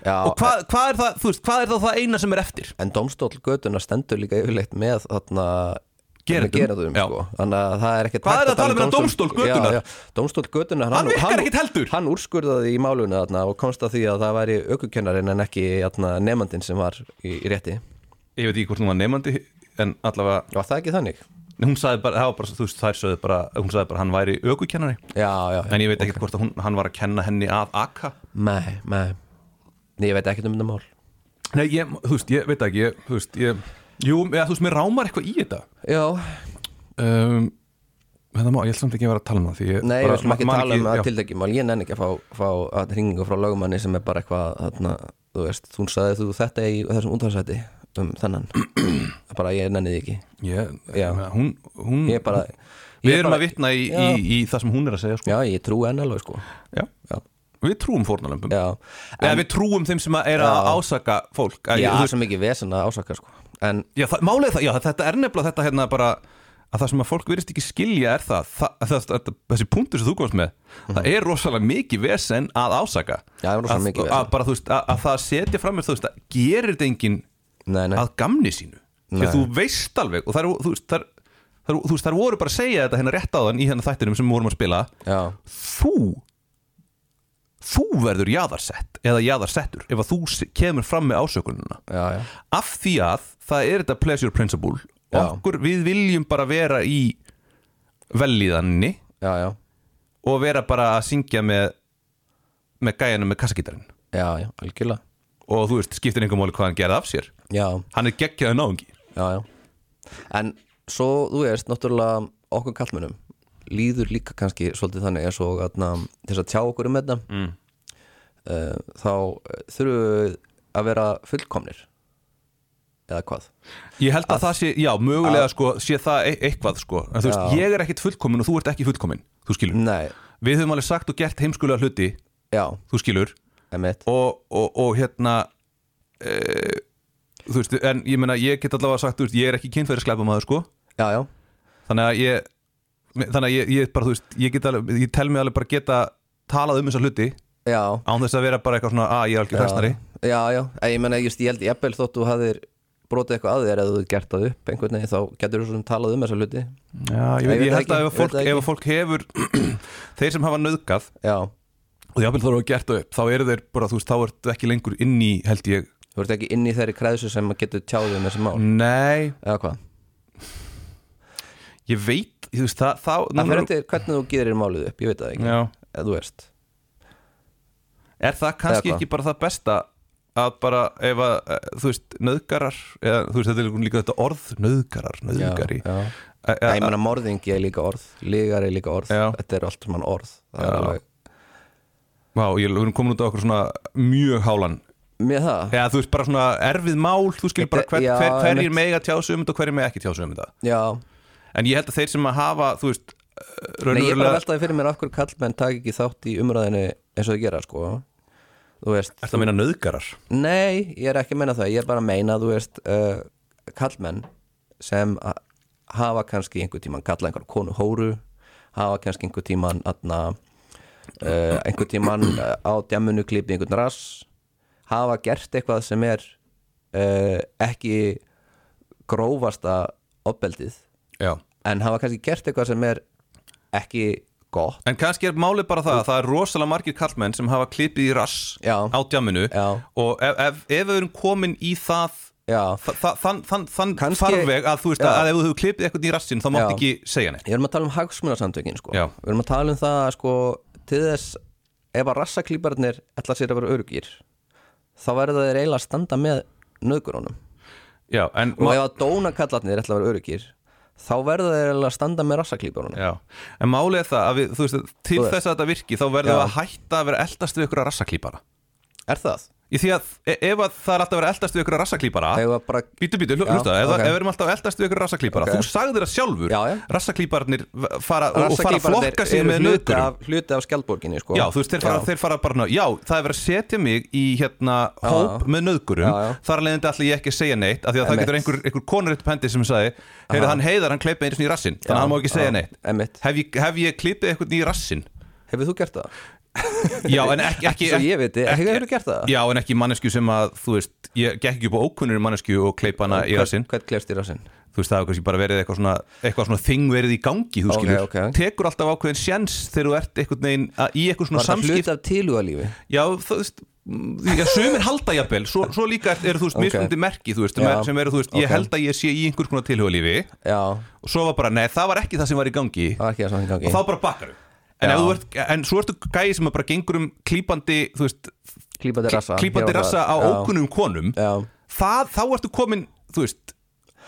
[SPEAKER 4] já.
[SPEAKER 3] og hvað hva er það, þú veist, hvað er það það eina sem er eftir
[SPEAKER 4] en domstóll götuna stendur líka yfirleitt með þarna
[SPEAKER 3] Gerendum.
[SPEAKER 4] með gerendum
[SPEAKER 3] Já.
[SPEAKER 4] sko. þannig að það er ekkert
[SPEAKER 3] Hvað
[SPEAKER 4] hægt
[SPEAKER 3] er að tala um þennan
[SPEAKER 4] dómstól-
[SPEAKER 3] dómstól götunnar?
[SPEAKER 4] Já, já, dómstóll götuna
[SPEAKER 3] Hann virkar ekkert heldur.
[SPEAKER 4] hann úrskurðaði í málunni þarna og komst að því að það væri aukukennarinn en ekki þarna, nefandinn sem var í, í rétti
[SPEAKER 3] ég veit ekki hvort hún var nefandi en allavega,
[SPEAKER 4] var það ekki þannig?
[SPEAKER 3] hún sagði bara, það var bara þú veist, þær sögðu bara, hún sagði bara, hann væri ökukennari
[SPEAKER 4] já, já, já.
[SPEAKER 3] en ég veit ekki hvort að hún, hann var að kenna henni að akka
[SPEAKER 4] nei, nei, Nei, ég veit ekkert um þetta mál
[SPEAKER 3] nei, ég, þú veist, ég veit ekki ég, þú veist, ég, jú, eða, þú veist, mér rámar eitthvað í þetta
[SPEAKER 4] já,
[SPEAKER 3] um, þetta má, ég held samt ekki að vera að tala um það því ég
[SPEAKER 4] Nei,
[SPEAKER 3] bara
[SPEAKER 4] við slum ekki
[SPEAKER 3] man
[SPEAKER 4] tala um
[SPEAKER 3] já.
[SPEAKER 4] að tildekjumál Ég nenni ekki að fá, fá að hringingu frá lögumanni sem er bara eitthvað þarna, þú veist, þú sagði þú þetta í þessum útvarsæti um þennan
[SPEAKER 3] (clears throat)
[SPEAKER 4] bara ég nenni því ekki
[SPEAKER 3] Ég,
[SPEAKER 4] Já.
[SPEAKER 3] ég meina, hún, hún,
[SPEAKER 4] Ég er bara
[SPEAKER 3] Mm. Við
[SPEAKER 4] ég er
[SPEAKER 3] erum
[SPEAKER 4] bara-
[SPEAKER 3] að vitna í,
[SPEAKER 4] Já.
[SPEAKER 3] í, í það sem hún er að segja sko.
[SPEAKER 4] Já, ég trú enn alveg sko
[SPEAKER 3] já.
[SPEAKER 4] Já,
[SPEAKER 3] Við trúum fórnalömbum
[SPEAKER 4] já,
[SPEAKER 3] Eða við trúum þeim sem að er að ásaka fólk
[SPEAKER 4] já
[SPEAKER 3] Að-
[SPEAKER 4] það
[SPEAKER 3] þú
[SPEAKER 4] er
[SPEAKER 3] veist-
[SPEAKER 4] svo mikið vesen að ásaka sko En
[SPEAKER 3] já það, málið er það, já, þetta er nefnilega þetta hérna bara að það sem að fólk virðist ekki skilja er það, það, það, það þessi punktur sem þú komst með það er rosalega mikið vesen að ásaka
[SPEAKER 4] Mhm. Já, það er rosalega
[SPEAKER 3] að,
[SPEAKER 4] mikið
[SPEAKER 3] að,
[SPEAKER 4] vesen.
[SPEAKER 3] bara, þú veist, að, að það setja fram með þú veist að gerir þetta enginn
[SPEAKER 4] Nei, nei.
[SPEAKER 3] að gamni sínu því
[SPEAKER 4] Nei.
[SPEAKER 3] að þú veist alveg og það, er, þú veist, það, er, það, er, þú veist, það voru bara að segja þetta hérna rétt áðan í hérna þættinum sem við vorum að spila
[SPEAKER 4] Já,
[SPEAKER 3] þú þú verður jaðarsett eða jaðarsettur ef að þú s- kemur fram með ásökununa
[SPEAKER 4] já, já
[SPEAKER 3] af því að það er þetta pleasure principle
[SPEAKER 4] Já.
[SPEAKER 3] okkur við viljum bara vera í velíðanni
[SPEAKER 4] Já, já,
[SPEAKER 3] og vera bara að syngja með með gæjanum með kassakítarinn
[SPEAKER 4] já, já, algjörlega
[SPEAKER 3] og þú veist, skiptir einhver máli hvað hann gerði af sér
[SPEAKER 4] Já,
[SPEAKER 3] hann er geggjaði náungi
[SPEAKER 4] já, já En svo, þú veist, náttúrulega okkur kallmönnum líður líka kannski svolítið þannig eins og atna, þess að tjá okkur um þetta mm. þá eh, þurfum við að vera fullkomnir eða hvað
[SPEAKER 3] Ég held að, það sé, já, mögulega sko, sé það e- eitthvað sko En þú veist, ég er ekkit fullkomin og þú ert ekki fullkomin Þú skilur
[SPEAKER 4] Nei,
[SPEAKER 3] Við höfum alveg sagt og gert heimskulega hluti
[SPEAKER 4] já,
[SPEAKER 3] Þú skilur
[SPEAKER 4] emitt
[SPEAKER 3] Og, og, og hérna e, Þú veist, en ég meina, ég get allavega sagt Þú veist, ég er ekki kynfæri sklæpamaður sko
[SPEAKER 4] Já, já,
[SPEAKER 3] Þannig að ég Þannig að ég, ég bara, þú veist, ég get alveg Ég tel mig alveg bara geta talað um þessa hluti
[SPEAKER 4] já
[SPEAKER 3] Án þess að vera bara eitthvað svona Að ég er algjör hræsnari
[SPEAKER 4] Já, já, en ég meina, just, ég held ég eppel þótt þú hafðir brotið eitthvað að þér eða þú hefur gert það upp einhvern veginn þá getur þú svona talað um þessa hluti
[SPEAKER 3] Já, ég, veit,
[SPEAKER 4] Ég veit
[SPEAKER 3] ég held
[SPEAKER 4] það
[SPEAKER 3] að
[SPEAKER 4] ekki,
[SPEAKER 3] ef að
[SPEAKER 4] ég veit
[SPEAKER 3] fólk,
[SPEAKER 4] það ekki.
[SPEAKER 3] ef að fólk hefur (clears throat) Þeir sem hafa nöðgað
[SPEAKER 4] Já,
[SPEAKER 3] og jáfnvel þá eru að gert það upp þá eru þeir bara, þú veist, þá ertu ekki lengur inn í held ég,
[SPEAKER 4] þú ert ekki inn í þeirri kreðsu sem maður getur tjáðið um þessi mál
[SPEAKER 3] Mm. nei
[SPEAKER 4] eða hvað
[SPEAKER 3] ég veit, þú veist, það, þá
[SPEAKER 4] Það fyrir
[SPEAKER 3] núna-
[SPEAKER 4] eftir hvernig þú gerir málið upp, ég veit það ekki
[SPEAKER 3] Já.
[SPEAKER 4] Eða þú veist
[SPEAKER 3] er það kannski
[SPEAKER 4] Eða hvað?
[SPEAKER 3] ekki bara það besta að bara ef að, eh, þú veist, nöðgarar eða, þú veist, þetta er líka þetta orð nöðgarar, nöðgari
[SPEAKER 4] já.
[SPEAKER 3] Eh,
[SPEAKER 4] Já,
[SPEAKER 3] eh,
[SPEAKER 4] ég meina morðingi er líka orð, lígar er líka orð
[SPEAKER 3] Já.
[SPEAKER 4] Þetta er allt saman orð Það er
[SPEAKER 3] Já.
[SPEAKER 4] alveg
[SPEAKER 3] Vá, ég við erum komin út á okkur svona mjög hálan
[SPEAKER 4] Mér það?
[SPEAKER 3] eða þú veist, bara svona erfið mál þú skilur bara hver,
[SPEAKER 4] Já,
[SPEAKER 3] hver,
[SPEAKER 4] einmitt.
[SPEAKER 3] hverjir mega tjá sig um þetta og hverjir mega ekki tjá sig um þetta
[SPEAKER 4] Já,
[SPEAKER 3] en ég held að þeir sem að hafa, þú veist eh,
[SPEAKER 4] Nei, ég bara
[SPEAKER 3] raunverulega,
[SPEAKER 4] veltaði fyrir mér af hverju kallmenn taka ekki þátt í umræðinni eins og þau gera sko Þú veist
[SPEAKER 3] er það að meina nöðgarar
[SPEAKER 4] Nei, ég er ekki að meina það, ég er bara að meina þú veist uh, kallmenn sem a- hafa kannski einhver tíman kalla einhver konu hóru hafa kannski einhver tíman atna, uh, einhver tíman uh, á djamunu klipi einhvern rass hafa gert eitthvað sem er uh, ekki grófasta opbeldið
[SPEAKER 3] já
[SPEAKER 4] en hafa kannski gert eitthvað sem er ekki gott
[SPEAKER 3] En kannski er málið bara það að það er rosalega margir kallmenn sem hafa klipið í rass
[SPEAKER 4] Já.
[SPEAKER 3] á djaminu
[SPEAKER 4] Já.
[SPEAKER 3] og ef, ef, ef við erum komin í það
[SPEAKER 4] Já.
[SPEAKER 3] þa- þa- þann, þann, þann
[SPEAKER 4] Kannski-
[SPEAKER 3] farveg að þú veist
[SPEAKER 4] Já.
[SPEAKER 3] að ef þú hefur klipið eitthvað í rassin þá mátt
[SPEAKER 4] Já.
[SPEAKER 3] ekki segja neitt
[SPEAKER 4] Ég erum að tala um hagsmunasamtökin sko.
[SPEAKER 3] Já.
[SPEAKER 4] Við erum að tala um það sko, til þess ef að rassaklýparnir ætla sér að vera örgir þá verða þeir eiginlega að standa með nöðgurónum
[SPEAKER 3] Já, en,
[SPEAKER 4] og ef
[SPEAKER 3] ma
[SPEAKER 4] að dónakallarnir ætla að vera örgir þá verða þeir eiginlega að standa með rassaklýparnum
[SPEAKER 3] Já. en málið er það að við, þú veist, til
[SPEAKER 4] Þú veist.
[SPEAKER 3] þess að þetta virki þá verðum
[SPEAKER 4] Já.
[SPEAKER 3] við að hætta að vera eldast við ykkur að rassaklýpara
[SPEAKER 4] Er það?
[SPEAKER 3] Í því að e- ef að það er alltaf að vera eldast við ykkur að rassaklýpara
[SPEAKER 4] Eigum við að bara-
[SPEAKER 3] Býtu, býtu, hlu-
[SPEAKER 4] Já,
[SPEAKER 3] hlusta, ef,
[SPEAKER 4] ok.
[SPEAKER 3] okay. ef við erum alltaf að eldast við ykkur rassaklýpara
[SPEAKER 4] Ok.
[SPEAKER 3] Þú sagðir það sjálfur,
[SPEAKER 4] Já, já.
[SPEAKER 3] rassaklýparnir fara, og- og fara að flokka sig með
[SPEAKER 4] hluti
[SPEAKER 3] nöðgurum
[SPEAKER 4] af, hluti af skjaldborginni sko.
[SPEAKER 3] Já, þú veist, þeir fara, þeir fara bara ná, Já, það er verið að setja mig í hérna hóp
[SPEAKER 4] já.
[SPEAKER 3] með nöðgurum
[SPEAKER 4] Já, já.
[SPEAKER 3] Þar leðandi allir ég ekki að segja neitt af Því að það
[SPEAKER 4] Einmitt.
[SPEAKER 3] getur einhver, einhver konur eitt pendi sem sagði Heyrðu, hann heiðar, hann kleipið einu sinni í rassin Þannig að hann má ekki segja
[SPEAKER 4] já,
[SPEAKER 3] neitt
[SPEAKER 4] einmitt.
[SPEAKER 3] Hef ég, hef ég klippið einhvern í rassin?
[SPEAKER 4] Hefur þú gert það?
[SPEAKER 3] Já, en ekki, ekki
[SPEAKER 4] Svo ég veit, hefur þú gert það?
[SPEAKER 3] Já, en ekki mannesku sem að, þú veist Ég gekk ekki upp á ókunnur mannesku og kleip hana í rassin
[SPEAKER 4] Hvern klefst í rassinn?
[SPEAKER 3] Þú veist, það hefur kannski bara verið eitthvað svona Eitthvað svona þing verið í gangi, þú
[SPEAKER 4] Ok,
[SPEAKER 3] skilur
[SPEAKER 4] ok.
[SPEAKER 3] Tekur alltaf ákveðin sjens þegar þú ert einhvern veginn að- Í eitthvað svona
[SPEAKER 4] Var það
[SPEAKER 3] samskipt
[SPEAKER 4] hluti af tilhugalífi?
[SPEAKER 3] Já, þú veist Já, sumir halda jafnvel, svo, svo líka er- eru þú veist
[SPEAKER 4] Ok.
[SPEAKER 3] mismundi merki, þú veist,
[SPEAKER 4] Já.
[SPEAKER 3] sem eru þú veist ég
[SPEAKER 4] Ok.
[SPEAKER 3] held að ég sé í einhvers konar tilhugalífi
[SPEAKER 4] Já,
[SPEAKER 3] og svo var bara, nei, það var ekki það sem var í gangi
[SPEAKER 4] það var ekki það sem gangi
[SPEAKER 3] og þá bara bakkar en,
[SPEAKER 4] Já.
[SPEAKER 3] ef þú ert, en svo ertu gæi sem að bara gengur um klípandi, þú veist
[SPEAKER 4] Klípandi rassa
[SPEAKER 3] klípandi
[SPEAKER 4] Hér og
[SPEAKER 3] rassa
[SPEAKER 4] þar.
[SPEAKER 3] á
[SPEAKER 4] Já.
[SPEAKER 3] ókunnum konum
[SPEAKER 4] Já.
[SPEAKER 3] það, þá ertu komin, þú veist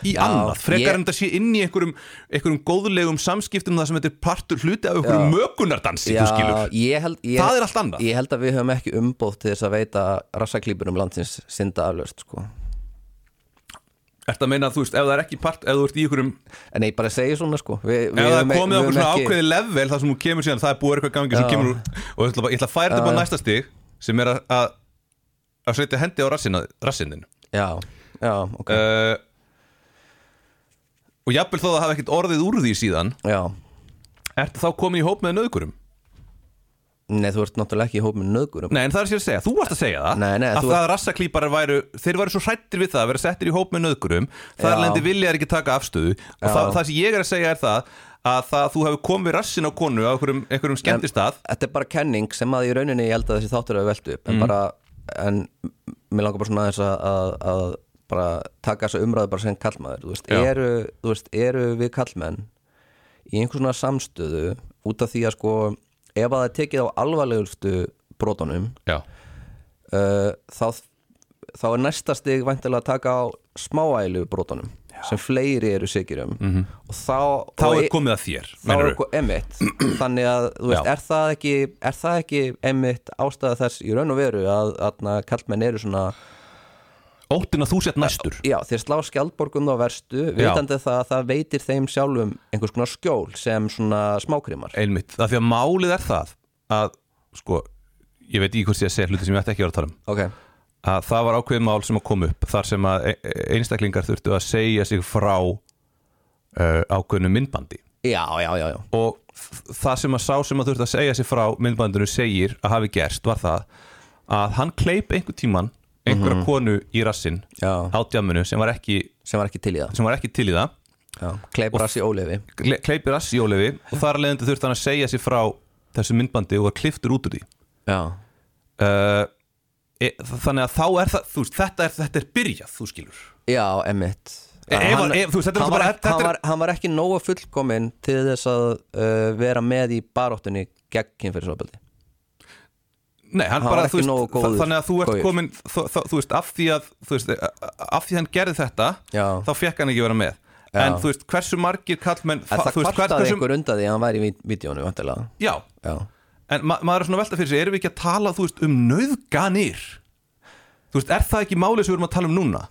[SPEAKER 3] í
[SPEAKER 4] Já,
[SPEAKER 3] annað, frekar
[SPEAKER 4] ég-
[SPEAKER 3] en þetta sé inn í einhverjum, einhverjum góðlegum samskiptum það sem þetta er partur hluti af einhverjum mögunardansi, þú skilur
[SPEAKER 4] ég held, ég,
[SPEAKER 3] Það er allt annað.
[SPEAKER 4] Ég held að við höfum ekki umbóð til þess að veita rassaklýpurum landsins synda aflöst sko.
[SPEAKER 3] Ertu að meina að þú veist, ef það er ekki part, ef þú ert í einhverjum
[SPEAKER 4] En ég bara segi svona sko við,
[SPEAKER 3] Ef
[SPEAKER 4] við
[SPEAKER 3] það er
[SPEAKER 4] höfum-
[SPEAKER 3] komið á
[SPEAKER 4] við
[SPEAKER 3] okkur
[SPEAKER 4] höfum
[SPEAKER 3] svona
[SPEAKER 4] ekki-
[SPEAKER 3] ákveði level þar sem hún kemur síðan, það er búið eitthvað gangi sem
[SPEAKER 4] Já.
[SPEAKER 3] kemur úr og ég ætla, bara- ég ætla að færa þetta bara á næsta stig sem er að- að að setja Eh. hendi á rassinu, rassinu.
[SPEAKER 4] Já, já, ok
[SPEAKER 3] Uh, og jafnvel þó að það hafi ekkert orðið úr því síðan
[SPEAKER 4] Já,
[SPEAKER 3] ertu þá komið í hóp með nöðgurum
[SPEAKER 4] nei þú ert náttúrulega ekki í hóp með nöðgurum
[SPEAKER 3] nei en það er sér að segja, þú varst að segja það
[SPEAKER 4] Nei, nei,
[SPEAKER 3] að
[SPEAKER 4] þú-
[SPEAKER 3] það rassaklíparar væru, þeir væru svo hrættir við það að vera settir í hóp með nöðgurum þar
[SPEAKER 4] Já.
[SPEAKER 3] lendi viljaðir ekki taka afstöðu og það, það sem ég er að segja er það að það, þú hefur komið rassin á konu á einhverjum, einhverjum skemmtistað
[SPEAKER 4] Þetta er bara kenning sem að í rauninni ég held að þessi þáttur hafi veldu
[SPEAKER 3] Mm.
[SPEAKER 4] upp en bara, en mér langar bara svona aðeins að, að, að bara taka þessa umræðu bara sem kallmaður þú veist,
[SPEAKER 3] Já.
[SPEAKER 4] eru, þú veist, eru við kallmenn í einhver svona samstöðu út af því að sko ef að það er tekið á alvarlegustu brotunum
[SPEAKER 3] já,
[SPEAKER 4] uh, þá, þá er næsta stig væntilega að taka á smáælu brotunum sem fleiri eru sikir um -hmm. og þá,
[SPEAKER 3] Mhm. þá
[SPEAKER 4] og
[SPEAKER 3] er
[SPEAKER 4] e-
[SPEAKER 3] komið að þér
[SPEAKER 4] þá
[SPEAKER 3] meinarðu?
[SPEAKER 4] er okkur emitt
[SPEAKER 3] (clears throat)
[SPEAKER 4] þannig að þú veist,
[SPEAKER 3] Já.
[SPEAKER 4] er það ekki er það ekki emitt ástæða þess í raun og veru að, að kallmenn eru svona
[SPEAKER 3] óttinn að þú sett næstur
[SPEAKER 4] já, þeir slá skjaldborgum þá verstu
[SPEAKER 3] Já.
[SPEAKER 4] vitandi það að það veitir þeim sjálfum einhvers konar skjól sem svona smákrimar
[SPEAKER 3] einmitt, af því að málið er það að, sko, ég veit ekki hvort ég að segja hluti sem ég ætti ekki að vera að tala um
[SPEAKER 4] ok,
[SPEAKER 3] að það var ákveðið mál sem að kom upp þar sem að e- e- einstaklingar þurftu að segja sig frá uh, ákveðinu myndbandi
[SPEAKER 4] já, já, já, já
[SPEAKER 3] og þ- það sem að sá sem að þurftu að segja sig frá myndbandinu segir að hafi gerst var það að hann kleip einhver tíman einhverja konu í rassinn
[SPEAKER 4] Já.
[SPEAKER 3] á djamunu sem var ekki,
[SPEAKER 4] sem var ekki til í það
[SPEAKER 3] sem var ekki til í það
[SPEAKER 4] já. kleipur að sér ólefi
[SPEAKER 3] kle- kleipir rass í ólefi og þar að leiðandi þurfti hann að segja sig frá þessu myndbandi og var kliftur út úr því
[SPEAKER 4] já,
[SPEAKER 3] uh, e, þannig að þá er það þú veist, þetta er, þetta er byrjað, þú skilur
[SPEAKER 4] já, emitt
[SPEAKER 3] E- ef hann- ef- þú veist, þetta er
[SPEAKER 4] hann, var,
[SPEAKER 3] bara- e-
[SPEAKER 4] ekki- hann,
[SPEAKER 3] þetta er-
[SPEAKER 4] var, hann var ekki nógu fullkominn til þess að uh, vera með í baráttunni gegn kynferðisofbeldi
[SPEAKER 3] Nei, hann
[SPEAKER 4] Hann
[SPEAKER 3] bara,
[SPEAKER 4] var
[SPEAKER 3] þú
[SPEAKER 4] ekki
[SPEAKER 3] veist,
[SPEAKER 4] nógu góður
[SPEAKER 3] þa- þannig að þú ert
[SPEAKER 4] gaur.
[SPEAKER 3] komin þú, þú, þú veist, af því að þú veist, af því að hann gerði þetta
[SPEAKER 4] Já.
[SPEAKER 3] þá fekk hann ekki vera með en þú veist, hversu margir kallmenn
[SPEAKER 4] En það
[SPEAKER 3] þú veist,
[SPEAKER 4] kvartaði einhver undan því að hann væri í vídjónu vantilega.
[SPEAKER 3] Já,
[SPEAKER 4] Já.
[SPEAKER 3] en ma maður er svona að velta fyrir sig erum við ekki að tala, þú veist, um nöðganir þú veist, er það ekki málið sem við erum að tala um núna?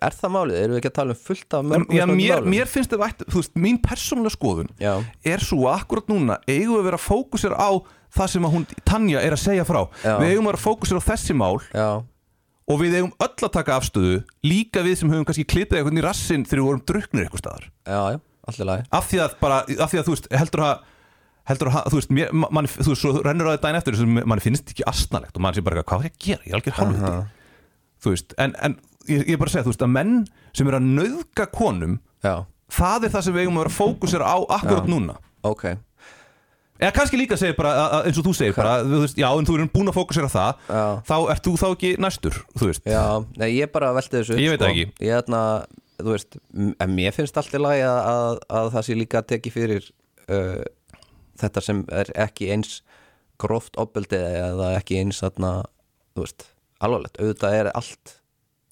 [SPEAKER 4] Er það málið? Erum við ekki að tala um fullt af
[SPEAKER 3] En,
[SPEAKER 4] mörgum
[SPEAKER 3] já,
[SPEAKER 4] mismunandi
[SPEAKER 3] mér,
[SPEAKER 4] málum?
[SPEAKER 3] mér finnst það vætt, þú veist, mín persónulega skoðun
[SPEAKER 4] Já.
[SPEAKER 3] er svo að akkurat núna eigum við að vera að fókusera á það sem að hún, Tanja, er að segja frá
[SPEAKER 4] Já.
[SPEAKER 3] við eigum að vera að fókusera á þessi mál
[SPEAKER 4] Já,
[SPEAKER 3] og við eigum öll að taka afstöðu líka við sem höfum kannski klippið einhvern í rassinn þegar við vorum druknir eitthvað staðar
[SPEAKER 4] já, já, allir lagi
[SPEAKER 3] af því að bara, af því að þú veist heldur að heldur að, þú veist, mér, ma- mann, þú veist, svo rennur á það dæn eftir þessu, mann finnst ekki astnalegt og mann sé bara, eitthvað, hvað er ég að gera, ég er algjör halvviti þú veist, en, en ég, ég er bara að segja, þú veist, að menn sem eru að nauðga konum,
[SPEAKER 4] Já,
[SPEAKER 3] það er það sem við eigum að vera að fókusera á akkurat núna
[SPEAKER 4] ok
[SPEAKER 3] eða kannski líka segir bara, að, að, eins og þú segir bara, að, þú veist, já, en þú erum búin að fókusera á það
[SPEAKER 4] Já.
[SPEAKER 3] þá ert þú þá ekki næstur, þú veist
[SPEAKER 4] Já, nei, ég bara velti þessu upp, sko.
[SPEAKER 3] Ég veit það ekki.
[SPEAKER 4] Ég þarna, þú veist, m- en mér finnst allir lagi að, að, að það sé líka að teki fyrir uh, þetta sem er ekki eins gróft opbeldi eða ekki eins þarna, þú veist, alvarlegt auðvitað er allt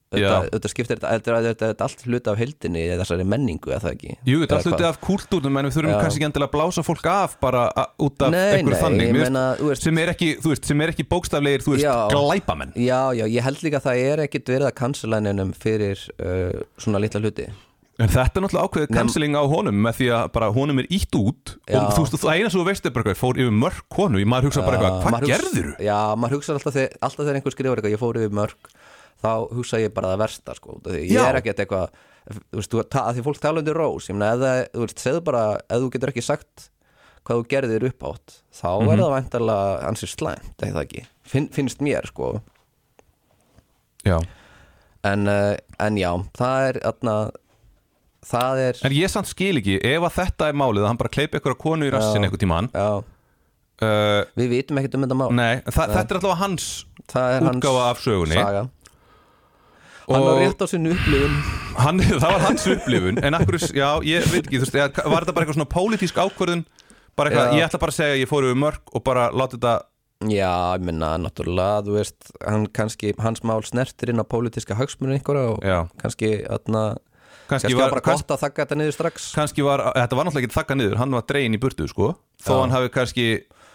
[SPEAKER 4] auðvitað,
[SPEAKER 3] Já.
[SPEAKER 4] auðvitað skiptir þetta, þetta, er- þetta, þetta er allt hluti af heildinni eða þessari menningu, eða það ekki
[SPEAKER 3] Jú, þetta
[SPEAKER 4] Eða
[SPEAKER 3] er alltaf
[SPEAKER 4] hvað?
[SPEAKER 3] af kúltúrnum en við þurfum kannski ekki endilega að blása fólk af bara a- út af
[SPEAKER 4] Nei,
[SPEAKER 3] einhverju
[SPEAKER 4] nei,
[SPEAKER 3] þannig
[SPEAKER 4] ég
[SPEAKER 3] Mér finnst-
[SPEAKER 4] meina, þú veist-
[SPEAKER 3] sem, er ekki, þú veist, sem er ekki bókstaflegir, þú veist,
[SPEAKER 4] Já.
[SPEAKER 3] glæpamenn
[SPEAKER 4] Já, já, ég held líka að það er ekkit verið að cancela neinum fyrir uh, svona litla hluti
[SPEAKER 3] En þetta er náttúrulega ákveðið canceling á honum með því að bara honum er ítt út og
[SPEAKER 4] Já.
[SPEAKER 3] þú veist, það eina sem þú veist er bara eitthvað, fór yfir mörg konu, ég maður hugsa bara eitthvað,
[SPEAKER 4] Ah, Maður
[SPEAKER 3] hvað
[SPEAKER 4] hugs-
[SPEAKER 3] gerður þú?
[SPEAKER 4] Já, maður hugsa alltaf, þeg, alltaf þegar einhver skrifar eitthvað, ég fór yfir mörg þá hugsa ég bara það versta sko, út af því ég
[SPEAKER 3] Já.
[SPEAKER 4] er ekkert eitthvað þú veist, þú, ta- að því fólk tala undir rós ég meina, ef það, þú veist, segðu bara, ef þú getur ekki sagt hvað þú gerðir upp átt þá
[SPEAKER 3] Mhm.
[SPEAKER 4] er það væntalega ansið slæmt eða ekki, Finn, finnst mér sko
[SPEAKER 3] Já.
[SPEAKER 4] en, uh, en já, það er atna, það er
[SPEAKER 3] En ég samt skil ekki, ef að þetta er málið að hann bara kleipi einhverja konu í rassin einhver tíman
[SPEAKER 4] já,
[SPEAKER 3] uh,
[SPEAKER 4] við vitum ekkert um þetta mál
[SPEAKER 3] Nei, þa þetta er alltaf hans
[SPEAKER 4] það er hans
[SPEAKER 3] útgáfa af sögunni
[SPEAKER 4] saga
[SPEAKER 3] og
[SPEAKER 4] hann var rétt á sinu upplifun
[SPEAKER 3] hann, (laughs) það var hans upplifun en akkur, já, ég veit ekki, þú veist eða var þetta bara eitthvað svona pólitísk ákvörðun bara eitthvað,
[SPEAKER 4] Já.
[SPEAKER 3] ég ætla bara að segja að ég fór yfir mörg og bara láta þetta,
[SPEAKER 4] já, ég minna, náttúrulega, þú veist hann kannski, hans mál snertir inn á pólitíska hagsmunni einhverja og
[SPEAKER 3] Já.
[SPEAKER 4] kannski atna,
[SPEAKER 3] kannski,
[SPEAKER 4] kannski var
[SPEAKER 3] var
[SPEAKER 4] bara
[SPEAKER 3] kannski,
[SPEAKER 4] gott að þakka þetta niður strax
[SPEAKER 3] kannski var, þetta var náttúrulega ekki þakka niður, hann var dregin í burtu, sko þó
[SPEAKER 4] Já.
[SPEAKER 3] hann hafi kannski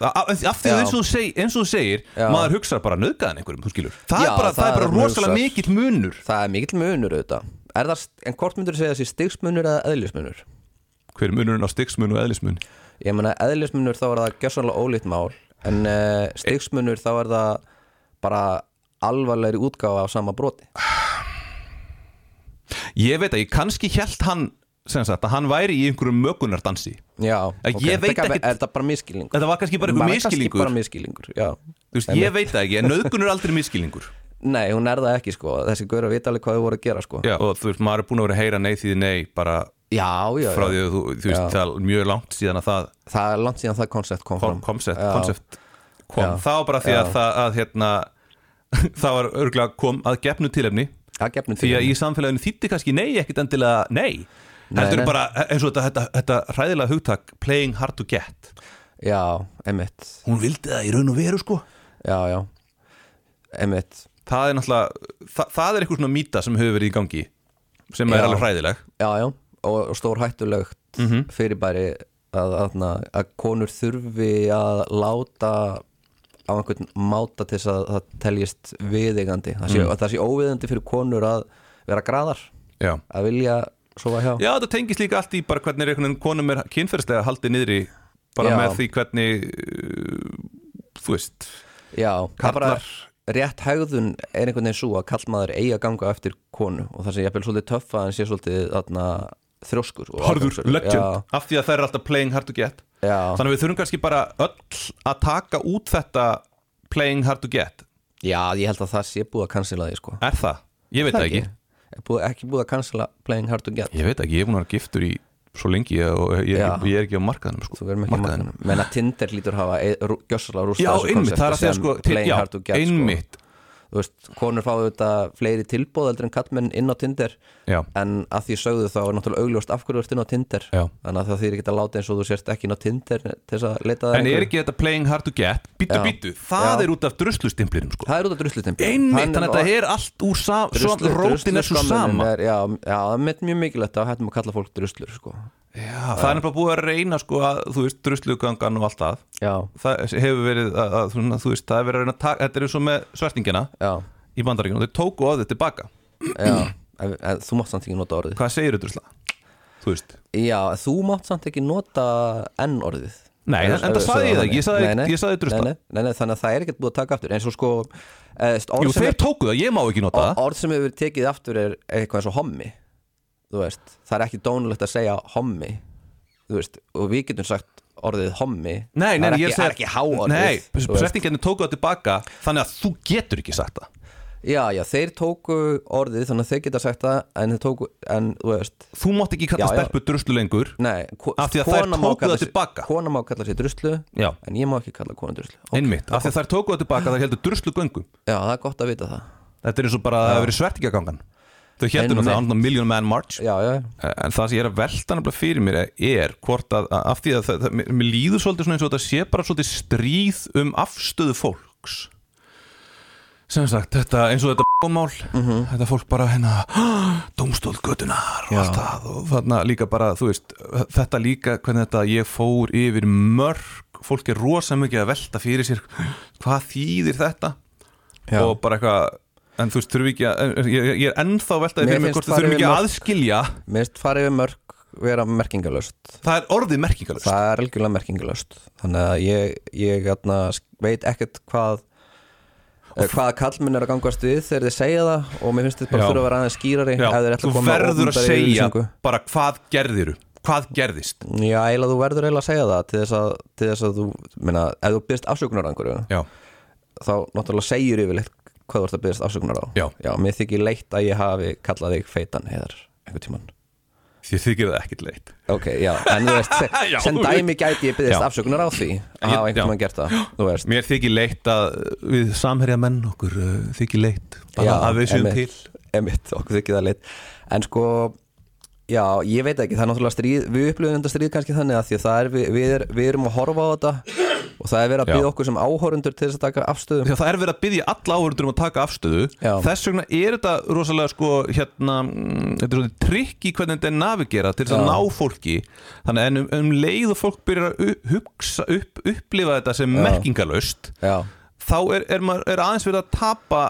[SPEAKER 3] a- af af því
[SPEAKER 4] Já.
[SPEAKER 3] að eins og þú seg- eins og þú segir
[SPEAKER 4] Já.
[SPEAKER 3] maður hugsa bara nöðgæðan einhverjum, þú skilur það
[SPEAKER 4] Já,
[SPEAKER 3] er bara, það
[SPEAKER 4] það
[SPEAKER 3] er
[SPEAKER 4] er
[SPEAKER 3] bara
[SPEAKER 4] maður
[SPEAKER 3] rosalega
[SPEAKER 4] hugsar.
[SPEAKER 3] mikill munur
[SPEAKER 4] það er mikill munur auðvitað er það, st- en hvort myndur segja þessi stigsmunur eða eðlismunur
[SPEAKER 3] hver er munurinn á stigsmun og eðlismun
[SPEAKER 4] ég meina, eðlismunur þá er það gjössanlega ólíkt mál en uh, stigsmunur þá er það bara alvarlegri útgáfa af sama broti
[SPEAKER 3] ég veit að ég kannski held hann sem sagt að hann væri í einhverjum mögunardansi
[SPEAKER 4] já
[SPEAKER 3] Ég
[SPEAKER 4] ok.
[SPEAKER 3] veit
[SPEAKER 4] Þetta kann-
[SPEAKER 3] ekkert-
[SPEAKER 4] Er þetta bara miskilningur?
[SPEAKER 3] Þetta var kannski bara einhver miskilningur.
[SPEAKER 4] Bara miskilningur, já
[SPEAKER 3] Þú veist, ég veit það ekki, en nöðgun er aldrei miskilningur
[SPEAKER 4] Nei, hún er það ekki sko Þessi gaur að vita alveg hvað þau voru að gera sko
[SPEAKER 3] Já, og þú veist, maður er búin að vera að heyra nei því nei bara
[SPEAKER 4] já, já,
[SPEAKER 3] frá því
[SPEAKER 4] já.
[SPEAKER 3] að þú, þú veist,
[SPEAKER 4] Já.
[SPEAKER 3] það er mjög langt síðan að það
[SPEAKER 4] Það er langt síðan það koncept kom fram
[SPEAKER 3] koncept,
[SPEAKER 4] Já.
[SPEAKER 3] koncept kom
[SPEAKER 4] Já.
[SPEAKER 3] það var bara því að,
[SPEAKER 4] Já.
[SPEAKER 3] það, að hérna, (laughs) það var örgulega kom að gefnu tilefni
[SPEAKER 4] Það gefnum
[SPEAKER 3] því að í samfélaginu þýtti kannski nei ekkit endilega nei,
[SPEAKER 4] Nei,
[SPEAKER 3] heldur
[SPEAKER 4] nei.
[SPEAKER 3] bara eins og þetta, þetta, þetta hræðilega hugtak playing hard to get
[SPEAKER 4] Já, emitt
[SPEAKER 3] hún vildi það í raun og veru sko
[SPEAKER 4] Já, já Emitt
[SPEAKER 3] það er náttúrulega, það, það er eitthvað svona mýta sem hefur verið í gangi sem
[SPEAKER 4] Já.
[SPEAKER 3] er alveg hræðileg
[SPEAKER 4] Já, já Og, og stór hættulegt
[SPEAKER 3] Mhm.
[SPEAKER 4] fyrirbæri að, að, að konur þurfi að láta á einhvern máta til þess að það teljist viðeigandi Það sé,
[SPEAKER 3] Mhm.
[SPEAKER 4] mm. það sé óviðeigandi fyrir konur að vera graðar
[SPEAKER 3] já.
[SPEAKER 4] að vilja sofa hjá
[SPEAKER 3] já, þetta tengist líka allt í bara hvernig er einhvern veginn konum er kynferðslega haldið niðri bara
[SPEAKER 4] Já.
[SPEAKER 3] með því hvernig uh, þú veist
[SPEAKER 4] Já, það er bara
[SPEAKER 3] Karlar-
[SPEAKER 4] rétt hegðun er einhvern veginn svo að kallmaður eigi að ganga eftir konu og það sem ég er svolítið töff að hann sé svolítið þarna, þrjóskur og
[SPEAKER 3] Harður
[SPEAKER 4] ágangsverður.
[SPEAKER 3] legend af því að það er alltaf playing hard to get
[SPEAKER 4] Já, já,
[SPEAKER 3] þannig að við þurfum kannski bara öll að taka út þetta playing hard to get
[SPEAKER 4] já, ég held að það sé búið að cancela því sko
[SPEAKER 3] er það? Ég veit það ekki
[SPEAKER 4] Er búið, Ekki búið að cancela playing hard to get
[SPEAKER 3] ég veit ekki, ég er búin að vera giftur í svo lengi og ég,
[SPEAKER 4] Já.
[SPEAKER 3] ég, ég er ekki á markaðanum sko.
[SPEAKER 4] Þú verðum ekki
[SPEAKER 3] Markaðnum.
[SPEAKER 4] markanum Menn að Tinder lítur hafa e- gjössalega rústa
[SPEAKER 3] já, einmitt, það er að segja sko til,
[SPEAKER 4] playing
[SPEAKER 3] já,
[SPEAKER 4] hard to get
[SPEAKER 3] einmitt,
[SPEAKER 4] sko. Þú veist, konur fáið þetta fleiri tilbóð heldur en kallmenn inn á Tinder
[SPEAKER 3] já,
[SPEAKER 4] en að því sögðu þá er náttúrulega augljóst af hverju þú ert inn á Tinder
[SPEAKER 3] Já.
[SPEAKER 4] þannig að það þýr ekki að láta eins og þú sért ekki inn á Tinder til þess að leita það
[SPEAKER 3] en er ekki þetta playing hard to get býtu,
[SPEAKER 4] Já.
[SPEAKER 3] býtu, það
[SPEAKER 4] Já.
[SPEAKER 3] er út af druslustimplinum sko.
[SPEAKER 4] það er út af druslutin
[SPEAKER 3] einmitt, þannig að þetta er allt úr sa- svo- rótin er svo sama
[SPEAKER 4] er, já, já, það er mjög- mjög mikilvægt að hættum að kalla fólk druslur sko.
[SPEAKER 3] já, það er bara búið að reyna sko að, þú veist, druslugangan og allt það
[SPEAKER 4] já,
[SPEAKER 3] það hefur verið að, að, svona, þú veist, það hefur verið að reyna að taka, þetta er eins og með svertingina
[SPEAKER 4] já,
[SPEAKER 3] í bandaríkjunum, þau tóku á þau tilbaka
[SPEAKER 4] já en, en, þú mátt samt ekki nota orðið
[SPEAKER 3] hvað segir drusla? þú veist
[SPEAKER 4] já, þú mátt samt ekki nota enn orðið
[SPEAKER 3] Nei,
[SPEAKER 4] Ef-
[SPEAKER 3] en- en það
[SPEAKER 4] ef
[SPEAKER 3] sagði ég
[SPEAKER 4] við sögðum
[SPEAKER 3] það ekki, ég sagði-
[SPEAKER 4] Nei, nei,
[SPEAKER 3] ég sagði drusla.
[SPEAKER 4] nei, nei, nei, nei, þannig að það er ekkert búið að taka aftur eins og sko eh, orð
[SPEAKER 3] Jú,
[SPEAKER 4] sem
[SPEAKER 3] þeir
[SPEAKER 4] er-
[SPEAKER 3] tóku það, ég má ekki nota það
[SPEAKER 4] Og orð sem hefur tekið aftur er eitthvað eins og hommi þú veist, það er ekki dónulegt að segja hommi þú veist, og við getum sagt orðið hommi
[SPEAKER 3] Nei, nei,
[SPEAKER 4] það er
[SPEAKER 3] ég er að
[SPEAKER 4] ekki, það
[SPEAKER 3] segja
[SPEAKER 4] er ekki háorðið
[SPEAKER 3] Nei,
[SPEAKER 4] þú veist.
[SPEAKER 3] settingarnir tóku það tilbaka Þannig að þú getur ekki sagt það
[SPEAKER 4] já, já, þeir tóku orðið þannig að þeir geta sagt það en þeir tóku, en þú veist
[SPEAKER 3] Þú mátt ekki kalla
[SPEAKER 4] Já, já.
[SPEAKER 3] stelpu druslu lengur
[SPEAKER 4] nei, ko-
[SPEAKER 3] Af því að þær
[SPEAKER 4] kona má
[SPEAKER 3] tóku
[SPEAKER 4] kalla
[SPEAKER 3] það
[SPEAKER 4] sig-
[SPEAKER 3] tilbaka.
[SPEAKER 4] kona má kalla sér druslu,
[SPEAKER 3] Já.
[SPEAKER 4] en ég má ekki kalla kona druslu já,
[SPEAKER 3] Einmitt, af því að þær tóku það tilbaka, þær heldur druslu göngum
[SPEAKER 4] það er gott að vita það
[SPEAKER 3] Þetta er eins og bara að það hefur verið svertingagangan Þau heldur
[SPEAKER 4] Einmitt.
[SPEAKER 3] það, hann er Million Man March
[SPEAKER 4] já, já,
[SPEAKER 3] En það sem ég er að velta nefnilega fyrir mér er hvort að, að- af því að það, það, mér- mér líður svolítið svona eins og þetta sé bara svolítið stríð um afstöðu fólks sem sagt, þetta, eins og þetta mál,
[SPEAKER 4] Mhm.
[SPEAKER 3] þetta fólk bara hérna (gasps) domstóð göttunar og allt það og þarna líka bara, þú veist þetta líka, hvernig þetta ég fór yfir mörg, fólk er rosa mikið að velta fyrir sér, (gasps) hvað þýðir þetta
[SPEAKER 4] já.
[SPEAKER 3] og bara eitthvað en þú veist, þurfum við ekki að ég, ég- ég er ennþá að veltaði
[SPEAKER 4] Mér
[SPEAKER 3] fyrir mér
[SPEAKER 4] finnst
[SPEAKER 3] hvort við
[SPEAKER 4] farið
[SPEAKER 3] þurfum ekki að
[SPEAKER 4] yfir mörg-
[SPEAKER 3] aðskilja
[SPEAKER 4] mér finnst farið við mörg vera merkingalöst
[SPEAKER 3] Það er orðið merkingalust
[SPEAKER 4] það er algjörlega merkingalöst þannig að ég, ég atna, veit ekkert hvað eh, hvaða kallmenn er að gangast við þegar þið segja það og mér finnst þetta bara
[SPEAKER 3] Já.
[SPEAKER 4] þurfa að vera aðeins skýrari ef þeir ætla
[SPEAKER 3] Þú
[SPEAKER 4] koma með
[SPEAKER 3] verður að
[SPEAKER 4] opinberri
[SPEAKER 3] segja
[SPEAKER 4] yfirlýsingu.
[SPEAKER 3] bara hvað gerðiru Hvað gerðist
[SPEAKER 4] já, eiginlega þú verður eiginlega að segja það til þess að, til þess að þú, minna, ef þú byrst afsökunar á einhverju,
[SPEAKER 3] Já,
[SPEAKER 4] þá náttúrulega segir yfirleitt hvað þú ert að byrst afsökunar á
[SPEAKER 3] Já.
[SPEAKER 4] mér þykir leitt að ég hafi kallað þig feitan heiðar einhver tíman
[SPEAKER 3] því þykir það ekkit leitt
[SPEAKER 4] Ok, já, en þú veist, sem,
[SPEAKER 3] (laughs) Já,
[SPEAKER 4] sem
[SPEAKER 3] þú
[SPEAKER 4] dæmi gæti ég byggðist
[SPEAKER 3] Já.
[SPEAKER 4] afsökunar á því
[SPEAKER 3] En
[SPEAKER 4] að
[SPEAKER 3] ég-
[SPEAKER 4] hafa
[SPEAKER 3] já.
[SPEAKER 4] einhvern veginn gert það, þú veist
[SPEAKER 3] Mér þykir leitt að uh, við samherja menn okkur uh, þykir leitt bara að við séum til
[SPEAKER 4] emitt, okkur þykir það leitt en sko, já, ég veit ekki það er náttúrulega stríð, við upplifum þetta stríð kannski þannig að því að það er, við, við, er, við erum að horfa á þetta og það er verið að
[SPEAKER 3] Já.
[SPEAKER 4] býða okkur sem áhorundur til þess að taka afstöðum
[SPEAKER 3] Þegar það er verið að byggja alla áhverjum um að taka afstöðu
[SPEAKER 4] Já.
[SPEAKER 3] Þess vegna er þetta rosalega sko hérna, mm, þetta er svona trikki hvernig þetta er navigera til þess að
[SPEAKER 4] Já.
[SPEAKER 3] ná fólki Þannig en um, um leið og fólk byrjar að u- hugsa upp, upplifa þetta sem
[SPEAKER 4] Já.
[SPEAKER 3] merkingalust
[SPEAKER 4] já,
[SPEAKER 3] þá er, er, maður, er aðeins verið að tapa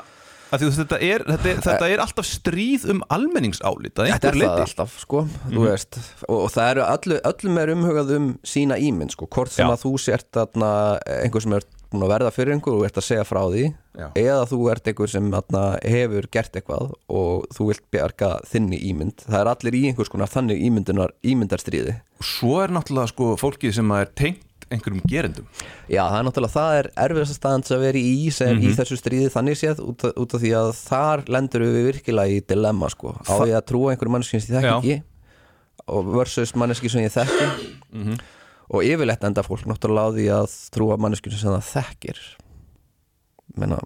[SPEAKER 3] að því, þú veist, þetta, er, þetta, er, þetta er alltaf stríð um almenningsálit að
[SPEAKER 4] þetta
[SPEAKER 3] einhver
[SPEAKER 4] er það
[SPEAKER 3] leiti
[SPEAKER 4] alltaf, sko
[SPEAKER 3] Mhm.
[SPEAKER 4] þú veist, og, og það eru öllu, öllum er umhugað um sína ímynd, sko, hvort sem
[SPEAKER 3] Já.
[SPEAKER 4] að þú sért þarna, eh, einhver sem er búin að verða fyrir einhver og ert að segja frá því
[SPEAKER 3] Já.
[SPEAKER 4] eða þú ert einhver sem atna, hefur gert eitthvað og þú vilt bjarga þinni ímynd það er allir í einhvers konar þannig ímyndunar, ímyndarstríði
[SPEAKER 3] Svo er náttúrulega sko fólkið sem er tengt einhverjum gerendum
[SPEAKER 4] Já, það er náttúrulega, það er erfiðasta staðan sem veri í, sem í þessu stríði þannig séð út, af- út af því að þar lendur við virkilega í dilemma, sko á
[SPEAKER 3] Þa-
[SPEAKER 4] ég að trúa einhverjum manneskjum sem ég þekki
[SPEAKER 3] Já.
[SPEAKER 4] ekki og versus manneskjum sem ég þekki og yfirleitt enda fólk náttúrulega á því að trúa manneskjum sem það þekkir menna,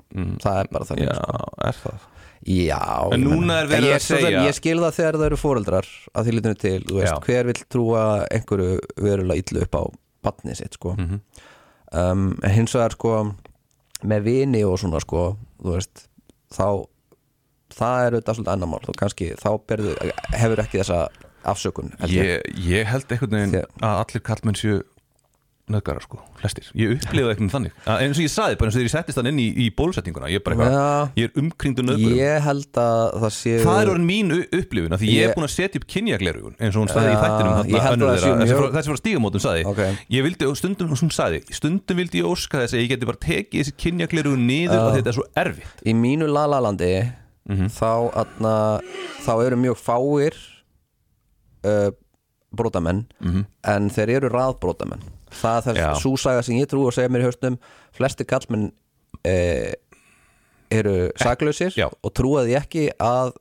[SPEAKER 4] það er bara þannig sko.
[SPEAKER 3] er það
[SPEAKER 4] Já
[SPEAKER 3] En
[SPEAKER 4] ég
[SPEAKER 3] núna
[SPEAKER 4] meina-
[SPEAKER 3] er verið
[SPEAKER 4] en ég
[SPEAKER 3] að
[SPEAKER 4] svo sem-
[SPEAKER 3] segja-
[SPEAKER 4] Ég skil það þegar það eru fóreldrar að því litinu til, þú veist,
[SPEAKER 3] Já.
[SPEAKER 4] hver vill trúa einhverju verulega illu upp á batni sitt, sko
[SPEAKER 3] Mhm.
[SPEAKER 4] um, en hins vegar, sko með vini og svona, sko þú veist, þá það er auðvitað svolítið annar mál, þú kannski þá berðu, hefur ekki þessa afsökun held ég.
[SPEAKER 3] ég, ég held einhvern veginn
[SPEAKER 4] Þér-
[SPEAKER 3] að allir kallmenn séu nöðgarar sko, flestir Ég upplifa einhvern þannig að, eins og ég saði, bara eins og þegar ég settist þann inn í, í bólusetninguna Ég er bara eitthvað,
[SPEAKER 4] Já.
[SPEAKER 3] ég er umkringdu nöðgurum
[SPEAKER 4] ég held að það sé
[SPEAKER 3] Það er orðin mín u- upplifun af Því ég er
[SPEAKER 4] Eh, Ég-
[SPEAKER 3] búin að setja upp kynjaglerugun eins og hún staði í
[SPEAKER 4] Já,
[SPEAKER 3] þættinum þarna
[SPEAKER 4] ég held að
[SPEAKER 3] önnur
[SPEAKER 4] það sé
[SPEAKER 3] þeirra,
[SPEAKER 4] mjög-
[SPEAKER 3] þessi frá- Þessi frá stígamótum saði
[SPEAKER 4] Ok.
[SPEAKER 3] Ég vildi, og stundum, hún saði Stundum vildi ég óska þess að ég geti bara tekið þessi kynjaglerugun niður af því þetta er svo erfitt
[SPEAKER 4] í mínu lalalandi
[SPEAKER 3] Mhm.
[SPEAKER 4] þá, atna, þá eru mjög fáir uh, brotamenn en þeir eru raðbrotamenn það er
[SPEAKER 3] Mhm. Já.
[SPEAKER 4] þess súsaga sem ég trú og segja mér í haustum flesti kallmenn uh, eru saklausir
[SPEAKER 3] já.
[SPEAKER 4] og trúa því ekki að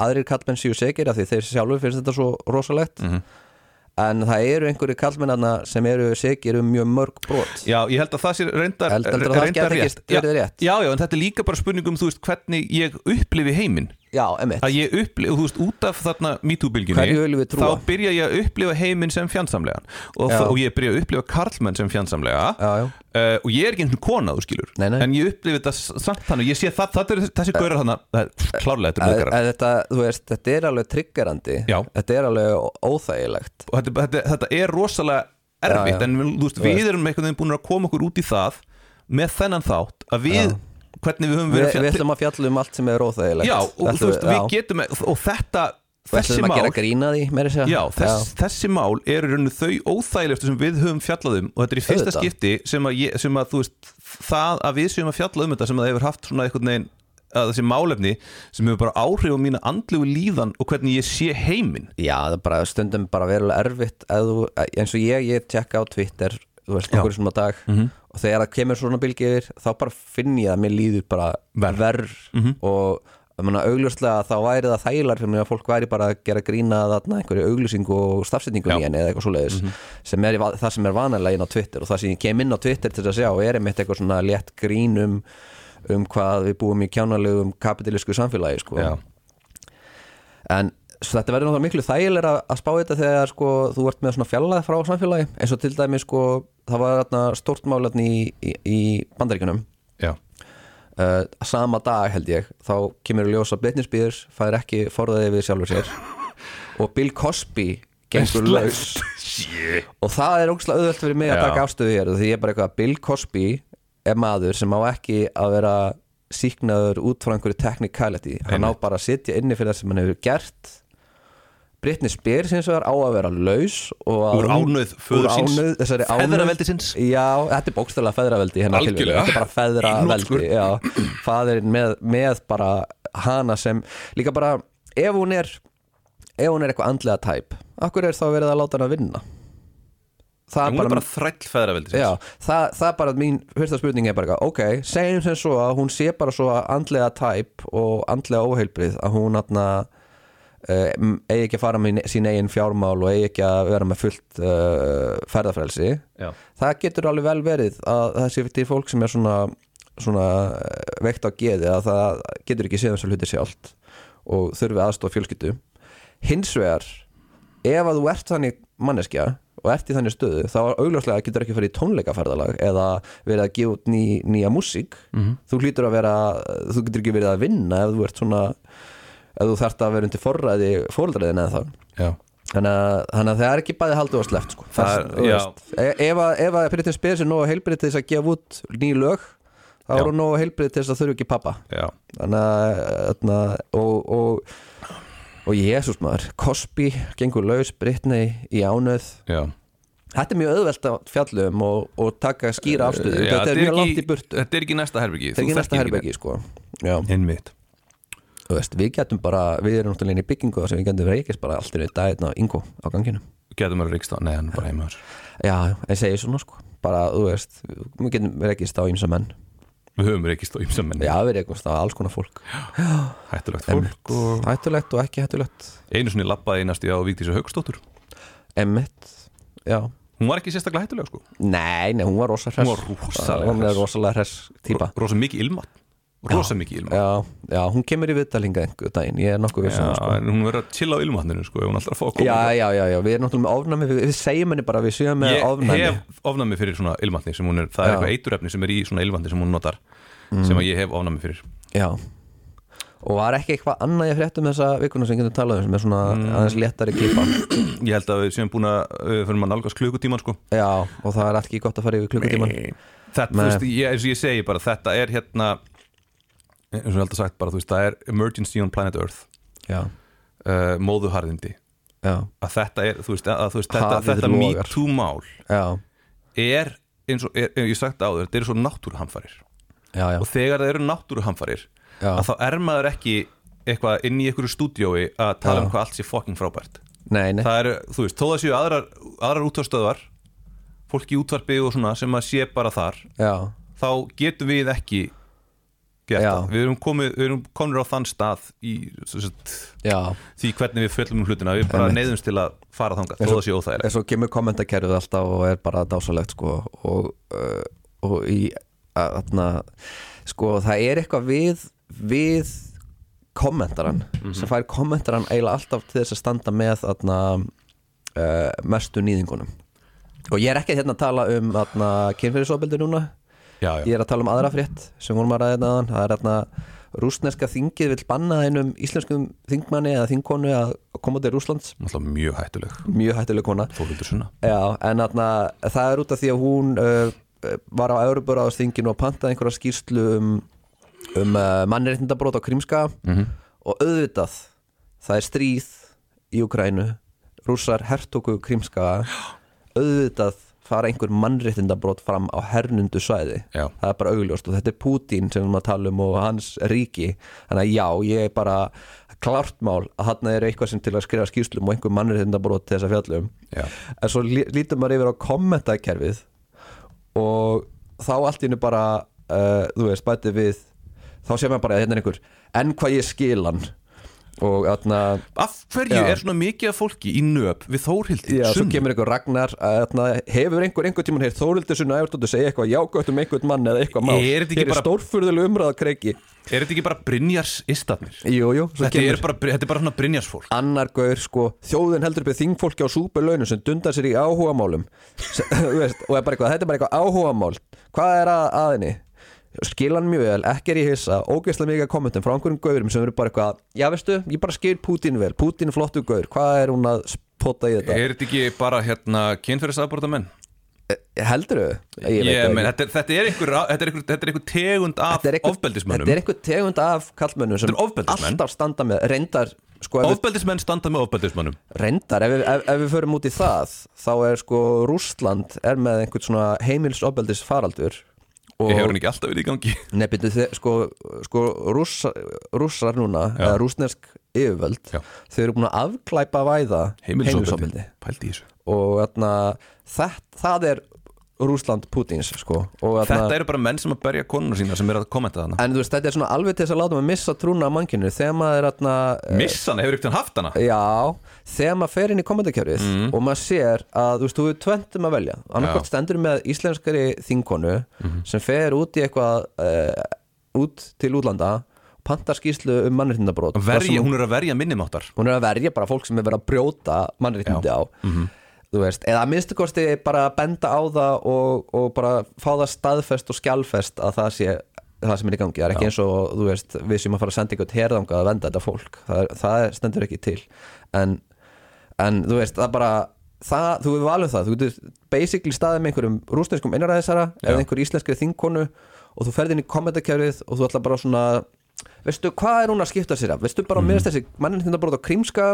[SPEAKER 4] aðrir kallmenn séu segir af því þeir sjálfur finnst þetta svo rosalegt
[SPEAKER 3] Mhm.
[SPEAKER 4] en það eru einhverju kallmennarna sem eru segir um mjög mörg brot
[SPEAKER 3] Já, ég held að það sé reyndar,
[SPEAKER 4] Held- heldurðu að það
[SPEAKER 3] reyndar
[SPEAKER 4] geti ekki verið
[SPEAKER 3] Já,
[SPEAKER 4] rétt?
[SPEAKER 3] já, já, en þetta er líka bara spurningum, þú veist, hvernig ég upplifi heiminn
[SPEAKER 4] já, emitt
[SPEAKER 3] að ég upplifa, þú veist, út af þarna
[SPEAKER 4] Hverju viljum
[SPEAKER 3] MeToo-bylginni,
[SPEAKER 4] við trúa?
[SPEAKER 3] þá byrja ég að upplifa heiminn sem fjandsamlegan og,
[SPEAKER 4] Já.
[SPEAKER 3] og ég byrja að upplifa karlmenn sem fjandsamlega
[SPEAKER 4] Já, já.
[SPEAKER 3] Uh, og ég er ekki einhvern kona, þú skilur
[SPEAKER 4] Nei, nei.
[SPEAKER 3] en ég upplifa þetta s- samt þannig, ég sé það, það er þessi gaurar þarna, það er klárlega þetta er
[SPEAKER 4] að,
[SPEAKER 3] mögara
[SPEAKER 4] að þetta, þú veist, þetta er alveg triggerandi
[SPEAKER 3] Já.
[SPEAKER 4] þetta er alveg ó- óþægilegt
[SPEAKER 3] og þetta, þetta, þetta er rosalega
[SPEAKER 4] Já,
[SPEAKER 3] erfitt
[SPEAKER 4] já.
[SPEAKER 3] en við- þú veist,
[SPEAKER 4] Þú
[SPEAKER 3] við
[SPEAKER 4] veist.
[SPEAKER 3] erum einhvern veginn búin að koma okkur út í það með þennan þátt að við, hvernig við höfum
[SPEAKER 4] Vi,
[SPEAKER 3] verið
[SPEAKER 4] við ætlum að fjalla um allt sem er óþægilegt
[SPEAKER 3] Já, og þú veist, við
[SPEAKER 4] já.
[SPEAKER 3] getum og þetta,
[SPEAKER 4] Við
[SPEAKER 3] þessi
[SPEAKER 4] ætlum að
[SPEAKER 3] mál
[SPEAKER 4] gera grína því meira að segja.
[SPEAKER 3] Já, þess, þessi mál eru í rauninu þau óþægilegstu sem við höfum fjallað um og þetta er í fyrsta
[SPEAKER 4] Auðvitað.
[SPEAKER 3] skipti sem að, ég, sem að þú veist, það að við séum að fjalla um þetta sem að það hefur haft svona einhvern veginn að þessi málefni sem hefur bara áhrif á mína andlegu líðan og hvernig ég sé heiminn
[SPEAKER 4] já, það er bara stundum bara verulega erfitt að þú, að- eins og ég, ég tjekka á Twitter þú veist, okkur sem á dag og þegar það kemur svona bylgi yfir þá bara finn ég að mér líður bara verð, og ég meina, augljóslega þá væri það þægilar fyrir mig að fólk væri bara að gera grína þarna einhverju augljósingu og stafsetningu í henni eða eitthvað svoleiðis sem er í va- það sem er vanalega inn á Twitter og það sem ég kem inn á Twitter til þess að sjá er einmitt eitthvað svona létt grín um, um hvað við búum í kjánalögum kapitalísku samfélagi sko
[SPEAKER 3] Já.
[SPEAKER 4] en svo þetta verður náttúrulega miklu þægilega að spá þetta þegar sko, þú ert með svona fjallað frá samfélagi eins og til dæmi sko, það var þarna, stórt málarni í, í, í bandaríkunum
[SPEAKER 3] Já,
[SPEAKER 4] uh, sama dag held ég þá kemur í ljós að Britney Spears fær ekki forðaði við sjálfur sér og Bill Cosby gengur laus og það er ógslag auðvöld fyrir mig að
[SPEAKER 3] Já.
[SPEAKER 4] taka afstöðu hér því ég er bara eitthvað Bill Cosby er maður sem á ekki að vera síknaður út frá einhverju technicality hann á bara að sitja inni fyrir það sem hann hefur gert Britney Spears hins vegar á að vera laus og að
[SPEAKER 3] Úr
[SPEAKER 4] hún-
[SPEAKER 3] ánauð föður
[SPEAKER 4] úr
[SPEAKER 3] síns,
[SPEAKER 4] ánauð, þessari ánauð-
[SPEAKER 3] feðraveldi síns.
[SPEAKER 4] Já, þetta er bókstæðlega feðraveldi í hennar
[SPEAKER 3] Algjörlega.
[SPEAKER 4] tilfelli. Þetta er bara feðraveldi
[SPEAKER 3] Í
[SPEAKER 4] já, Faðirinn með, með bara hana sem Líka bara ef hún er Ef hún er eitthvað andlega tæp Akkur er þá verið að láta hana vinna Það
[SPEAKER 3] hún er bara þræll feðraveldi
[SPEAKER 4] Já, það, það er bara mín fyrsta spurning er bara eitthvað, ok, segjum sem svo að hún sé bara svo andlega tæp og andlega óheilbrið að hún atna, uh, eigi ekki að fara með sín eigin fjármál og eigi ekki að vera með fullt uh, ferðafrelsi
[SPEAKER 3] Já.
[SPEAKER 4] það getur alveg vel verið að það sé til fólk sem er svona, svona eh, veikt á geði að það getur ekki séð þessu hluti sjálft og þurfi aðstofa fjölskyldu hins vegar ef að þú ert þannig manneskja og ert í þannig stöðu þá augljóslega getur ekki farið í tónleikaferðalag eða verið að gefa út ný, nýja músík þú hlýtur að vera þú getur ekki verið að vinna ef þú ert svona ef þú þarft að vera undir forræði fóröldraðin eða það
[SPEAKER 3] Já.
[SPEAKER 4] Þannig að, þannig að það er ekki bæði haldið og sleppt sko.
[SPEAKER 3] Það
[SPEAKER 4] Það,
[SPEAKER 3] er-
[SPEAKER 4] þú
[SPEAKER 3] já.
[SPEAKER 4] veist, e- ef að, ef að Britney Spears er nógu heilbrið til þess að gefa út ný lög þá
[SPEAKER 3] Já.
[SPEAKER 4] er hún nógu heilbrið til þess að þurfi ekki pappa
[SPEAKER 3] Já.
[SPEAKER 4] þannig að þarna, og, og, og Jésús maður Cosby gengur laus Britney í ánöð
[SPEAKER 3] Já.
[SPEAKER 4] Þetta er mjög auðvelt að fjallum og, og taka skýra afstöðu
[SPEAKER 3] Eh, Já,
[SPEAKER 4] Þetta er mjög langt í burtu
[SPEAKER 3] þetta er ekki næsta herbyggi
[SPEAKER 4] Þetta er ekki næsta herbyggi sko Já,
[SPEAKER 3] Einmitt
[SPEAKER 4] þú veist, við getum bara, við erum náttúrulega inn í byggingu sem við getum reykist bara allt í einu daginn á Ingo á ganginum
[SPEAKER 3] Getum að ríkst á, nei hann er bara heimar
[SPEAKER 4] Já, en segi svona sko bara, þú veist, við getum reykist á ímsa menn
[SPEAKER 3] Við höfum reykist á ymsa menn
[SPEAKER 4] Já, við reykist á alls konar fólk
[SPEAKER 3] Hættulegt fólk og
[SPEAKER 4] Hættulegt og ekki hættulegt
[SPEAKER 3] einu sinni labbaði einast í á Víktísu Haugstóttur
[SPEAKER 4] Emmett, já
[SPEAKER 3] Hún var ekki sérstaklega hættulega sko
[SPEAKER 4] Nei, nei, hún var rosa hress
[SPEAKER 3] Hún var rosalega
[SPEAKER 4] Hún er
[SPEAKER 3] hress.
[SPEAKER 4] rosalega hress típa
[SPEAKER 3] Rosa mikið ilmat Rosa mikið ilmat
[SPEAKER 4] Já, já, hún kemur í viðtalinga einhver daginn, ég er nokkuð við
[SPEAKER 3] Já,
[SPEAKER 4] svona sko
[SPEAKER 3] en hún verður að chilla á ilmatninu sko ef Hún er alltaf að fá að koma
[SPEAKER 4] já, já, já, já, við erum náttúrulega með ofnæmi við, við segjum henni bara að við séum með
[SPEAKER 3] Ég
[SPEAKER 4] ofnæmi
[SPEAKER 3] hef ofnami fyrir svona ilmatni sem hún er Það er
[SPEAKER 4] Já. Mm.
[SPEAKER 3] eitthvað eiturefni sem er í svona ilmatni sem hún notar sem að ég hef ofnami fyrir
[SPEAKER 4] Já Og var ekki eitthvað annað ég fréttum þessa vikuna sem getum talað um sem er svona
[SPEAKER 3] Mm.
[SPEAKER 4] aðeins léttari klippa
[SPEAKER 3] Ég held að við séum búin að við fyrir maður nálgast klukkutíman sko
[SPEAKER 4] Já, og það er allt ekki gott að fara yfir klukkutíman
[SPEAKER 3] þetta, þú
[SPEAKER 4] Nei.
[SPEAKER 3] veist, ég, eins og ég segi bara þetta er hérna eins og ég held að sagt bara, þú veist, það er emergency on planet earth
[SPEAKER 4] Já,
[SPEAKER 3] uh, móðuharðindi
[SPEAKER 4] já,
[SPEAKER 3] að þetta er, þú veist, að, að, þú veist þetta,
[SPEAKER 4] Hafið
[SPEAKER 3] þetta
[SPEAKER 4] logar.
[SPEAKER 3] MeToo mál
[SPEAKER 4] já,
[SPEAKER 3] er, eins og er, ég hef sagt áður þetta eru svo náttúruhamfarir
[SPEAKER 4] já, já,
[SPEAKER 3] og þegar það eru náttúruhamfarir
[SPEAKER 4] Já.
[SPEAKER 3] að þá er maður ekki eitthvað inn í einhverju stúdiói að tala um hvað allt sé fucking frábært
[SPEAKER 4] nei, nei,
[SPEAKER 3] það eru, þú veist, þó það séu aðrar, aðrar útvarstöðvar fólki í útvarpi og svona sem að sé bara þar
[SPEAKER 4] já,
[SPEAKER 3] þá getum við ekki bjarta,
[SPEAKER 4] Já.
[SPEAKER 3] við erum, komið, við erum konur á þann stað í sem sagt,
[SPEAKER 4] já
[SPEAKER 3] því hvernig við föllum um hlutina við bara neyðumst til að fara þangað þó það sé óþægilegt
[SPEAKER 4] En svo kemur kommentakerfið alltaf og er bara dásalegt sko og, uh, og í að- þarna, sko það er eitthvað við við kommentaran
[SPEAKER 3] Mhm.
[SPEAKER 4] sem fær kommentaran eiginlega alltaf til þess að standa með þarna, uh, mestu nýðingunum og ég er ekki hérna að tala um kynferðisofbeldi núna
[SPEAKER 3] já,
[SPEAKER 4] ég
[SPEAKER 3] já.
[SPEAKER 4] er að tala um aðra frétt sem vorum að ræða hérna áðan. það er hérna rúsneska þingið vill banna einum íslenskum þingmanni eða þingkonu að koma til Rúslands
[SPEAKER 3] Náttúrulega mjög hættuleg
[SPEAKER 4] mjög hættileg kona
[SPEAKER 3] Þórhildur Sunna
[SPEAKER 4] Já, en atna, það er út af því að hún uh, uh, var á Európaráðsþinginu og pantaði einhverja skýrslu um, um uh, mannréttindabrót á Krímska og auðvitað það er stríð í Ukrænu rússar hertóku Krímska auðvitað fara einhver mannréttindabrót fram á hernundu svæði
[SPEAKER 3] Já.
[SPEAKER 4] það er bara augljóst og þetta er Putin sem við erum að tala um og hans ríki þannig að já, ég er bara klart mál að þarna er eitthvað sem til að skrifa skýrslum og einhver mannréttindabrót til þess að fjalla um
[SPEAKER 3] Já.
[SPEAKER 4] en svo lí- lítur maður yfir á kommentakerfið og þá allt í hennu bara uh, þú veist, bæti við þá sé maður bara að hérna er einhver enn hvað ég skil hann og þarna
[SPEAKER 3] Af hverju
[SPEAKER 4] Já.
[SPEAKER 3] er svona mikið af fólki í nöp við Þórhildur
[SPEAKER 4] Já, svo
[SPEAKER 3] Sunna?
[SPEAKER 4] kemur einhver Ragnar að, þarna, hefur einhver einhver tímann hér Þórildur Sunna Ævartóttur segja eitthvað jágögt um einhvern mann eða eitthvað mál
[SPEAKER 3] Er þetta ekki
[SPEAKER 4] Hér
[SPEAKER 3] bara-
[SPEAKER 4] stórfurðuleg umræða kreiki
[SPEAKER 3] Er þetta ekki bara Brynjars istatnir?
[SPEAKER 4] Jú, jú, svo
[SPEAKER 3] Þetta,
[SPEAKER 4] kemur
[SPEAKER 3] er bara, þetta er bara svona Brynjars fólk
[SPEAKER 4] annar gaur sko þjóðin heldur upp við þingfólki á súperlaunum sem dundar sér í áhugamálum S- (laughs) þú veist, og er bara eitthvað, þetta er bara eitthvað áhugamál hvað er að, að henni skil hann mjög vel, ekki er ég hissa ógeðslega mikið af kommentum frá einhverjum gaurum sem eru bara eitthvað, já veistu, ég bara skil Pútín vel Pútín er flottu gaur, hvað er hún að pota í þetta,
[SPEAKER 3] Er þetta ekki bara hérna kynferðisafbróta menn?
[SPEAKER 4] Eh, heldur þau? Ég veit það
[SPEAKER 3] menn
[SPEAKER 4] ekki.
[SPEAKER 3] þetta, er- þetta, er einhver, þetta, er einhver, þetta er einhver tegund af
[SPEAKER 4] Þetta er einhver-
[SPEAKER 3] ofbeldismönnum
[SPEAKER 4] þetta er einhver tegund af kallmönnum sem
[SPEAKER 3] Þetta er ofbeldismenn.
[SPEAKER 4] alltaf standa með, reyndar sko, ef við
[SPEAKER 3] Ofbeldismenn standa með ofbeldismönnum
[SPEAKER 4] Reyndar, ef við, ef, ef við förum út í það þá er sko Rússland er með einhvern svona heimilsobeldis faraldur og
[SPEAKER 3] Ég hefur hann ekki alltaf verið í
[SPEAKER 4] (laughs)
[SPEAKER 3] gangi
[SPEAKER 4] nefnir þeir sko, sko rússa, rússar núna eða rússnesk yfirvöld
[SPEAKER 3] Já.
[SPEAKER 4] þau eru búin að afklæpa væða
[SPEAKER 3] Heimilisofbeldi Pældi í þessu
[SPEAKER 4] og þarna, það, það er Rússland Pútins sko og
[SPEAKER 3] Þetta eru bara menn sem að berja konuna sína sem er að kommenta þarna
[SPEAKER 4] en þú veist þetta er svona alveg til þess að láta maður missa trúna á mannkinu þegar maður er þarna
[SPEAKER 3] Missan hefur ekkert haft hana
[SPEAKER 4] Já, þegar maður fer inn í kommentarkjörið og maður sér að þú veist, þú er tvöntum að velja annarkvæmt stendur með íslenskari þingkonu sem fer út í eitthvað uh, út til útlanda pantar skýrslu um mannréttindabrót
[SPEAKER 3] Verja, Hún er að verja minnimáttar
[SPEAKER 4] hún er að verja bara fólk sem er verið að brjóta mannréttindi á þú veist, eða að minnstu kosti bara að benda á það og, og bara fá það staðfest og skjálfest að það sé það sem er í gangi, það er ekki eins og þú veist, við sem að fara að senda eitthvað herðanga að venda þetta fólk, það, er- það er- stendur ekki til en, en þú veist, það bara það, þú hefur valið það, þú getur basically staðið með einhverjum rúsneskum innræðisara eða einhverjum íslenskri þingkonu og þú ferð inn í kommentarkerfið og þú ætla hérna bara svona veistu, hvað er hún að skipta sér af veistu bara, mm. mér finnst þessi mannindindabrót á krímska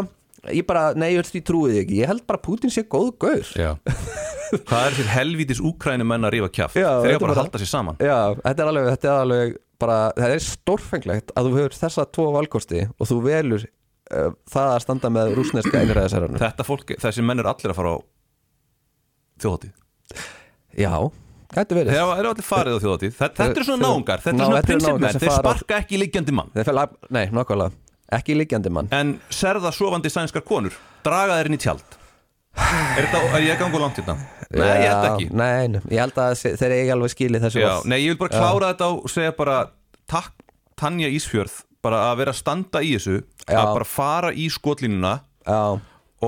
[SPEAKER 4] ég bara, nei, ég, veist, ég trúi því ekki ég held bara að Putin sé góð gaur
[SPEAKER 3] Já.
[SPEAKER 4] (laughs)
[SPEAKER 3] Hvað er fyrir helvítis úkrænum menn að rífa kjaft?
[SPEAKER 4] Já,
[SPEAKER 3] Þeir
[SPEAKER 4] þetta
[SPEAKER 3] eru bara
[SPEAKER 4] bara-
[SPEAKER 3] að halda sér saman.
[SPEAKER 4] Já, þetta er alveg, þetta er alveg bara, það er stórfenglegt að þú hefur þessa tvo valkosti og þú velur uh, það að standa með rúsneska einræðisherranum
[SPEAKER 3] Þetta fólk, þessi menn eru allir að fara á þjóðhátíð.
[SPEAKER 4] Já, gæti verið
[SPEAKER 3] Þeir eru eru allir farið á þjóðhátíð. Þetta, þetta eru svona
[SPEAKER 4] Þeir-
[SPEAKER 3] náungar, þetta
[SPEAKER 4] Ná,
[SPEAKER 3] eru svona
[SPEAKER 4] þetta eru
[SPEAKER 3] prinsipmenn,
[SPEAKER 4] náungar sem
[SPEAKER 3] þeir
[SPEAKER 4] fara á-
[SPEAKER 3] sparka ekki í liggjandi mann.
[SPEAKER 4] Þeir fel, Nei, nokkvælega, ekki liggjandi mann
[SPEAKER 3] En serða sofandi sænskar konur, draga þeir inn í tjald. Er, þetta, er ég að ganga of langt hérna? Nei, ég held
[SPEAKER 4] Já,
[SPEAKER 3] ekki.
[SPEAKER 4] Nei, nei, ég held að þessi- þeir eigi alveg skilið þessu
[SPEAKER 3] Já,
[SPEAKER 4] orð.
[SPEAKER 3] nei, ég vil bara klára þetta og segja bara takk Tanja Ísfjörð bara að vera að standa í þessu
[SPEAKER 4] Já.
[SPEAKER 3] að bara fara í skotlínuna
[SPEAKER 4] Já,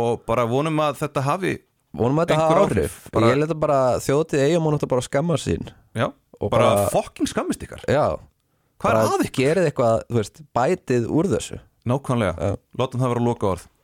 [SPEAKER 3] og bara vonum að þetta hafi
[SPEAKER 4] vonum að þetta
[SPEAKER 3] Einhver
[SPEAKER 4] hafa
[SPEAKER 3] áhrif.
[SPEAKER 4] áhrif
[SPEAKER 3] Bara-
[SPEAKER 4] Ég leta bara þjótið eigum hún átt að bara skamma sín
[SPEAKER 3] já,
[SPEAKER 4] Og
[SPEAKER 3] bara,
[SPEAKER 4] bara-
[SPEAKER 3] fucking skammist ykkar
[SPEAKER 4] Já
[SPEAKER 3] Hvað er að
[SPEAKER 4] Gerið eitthvað, þú veist, bætið úr þessu
[SPEAKER 3] Nákvæmlega, látum það vera loka orð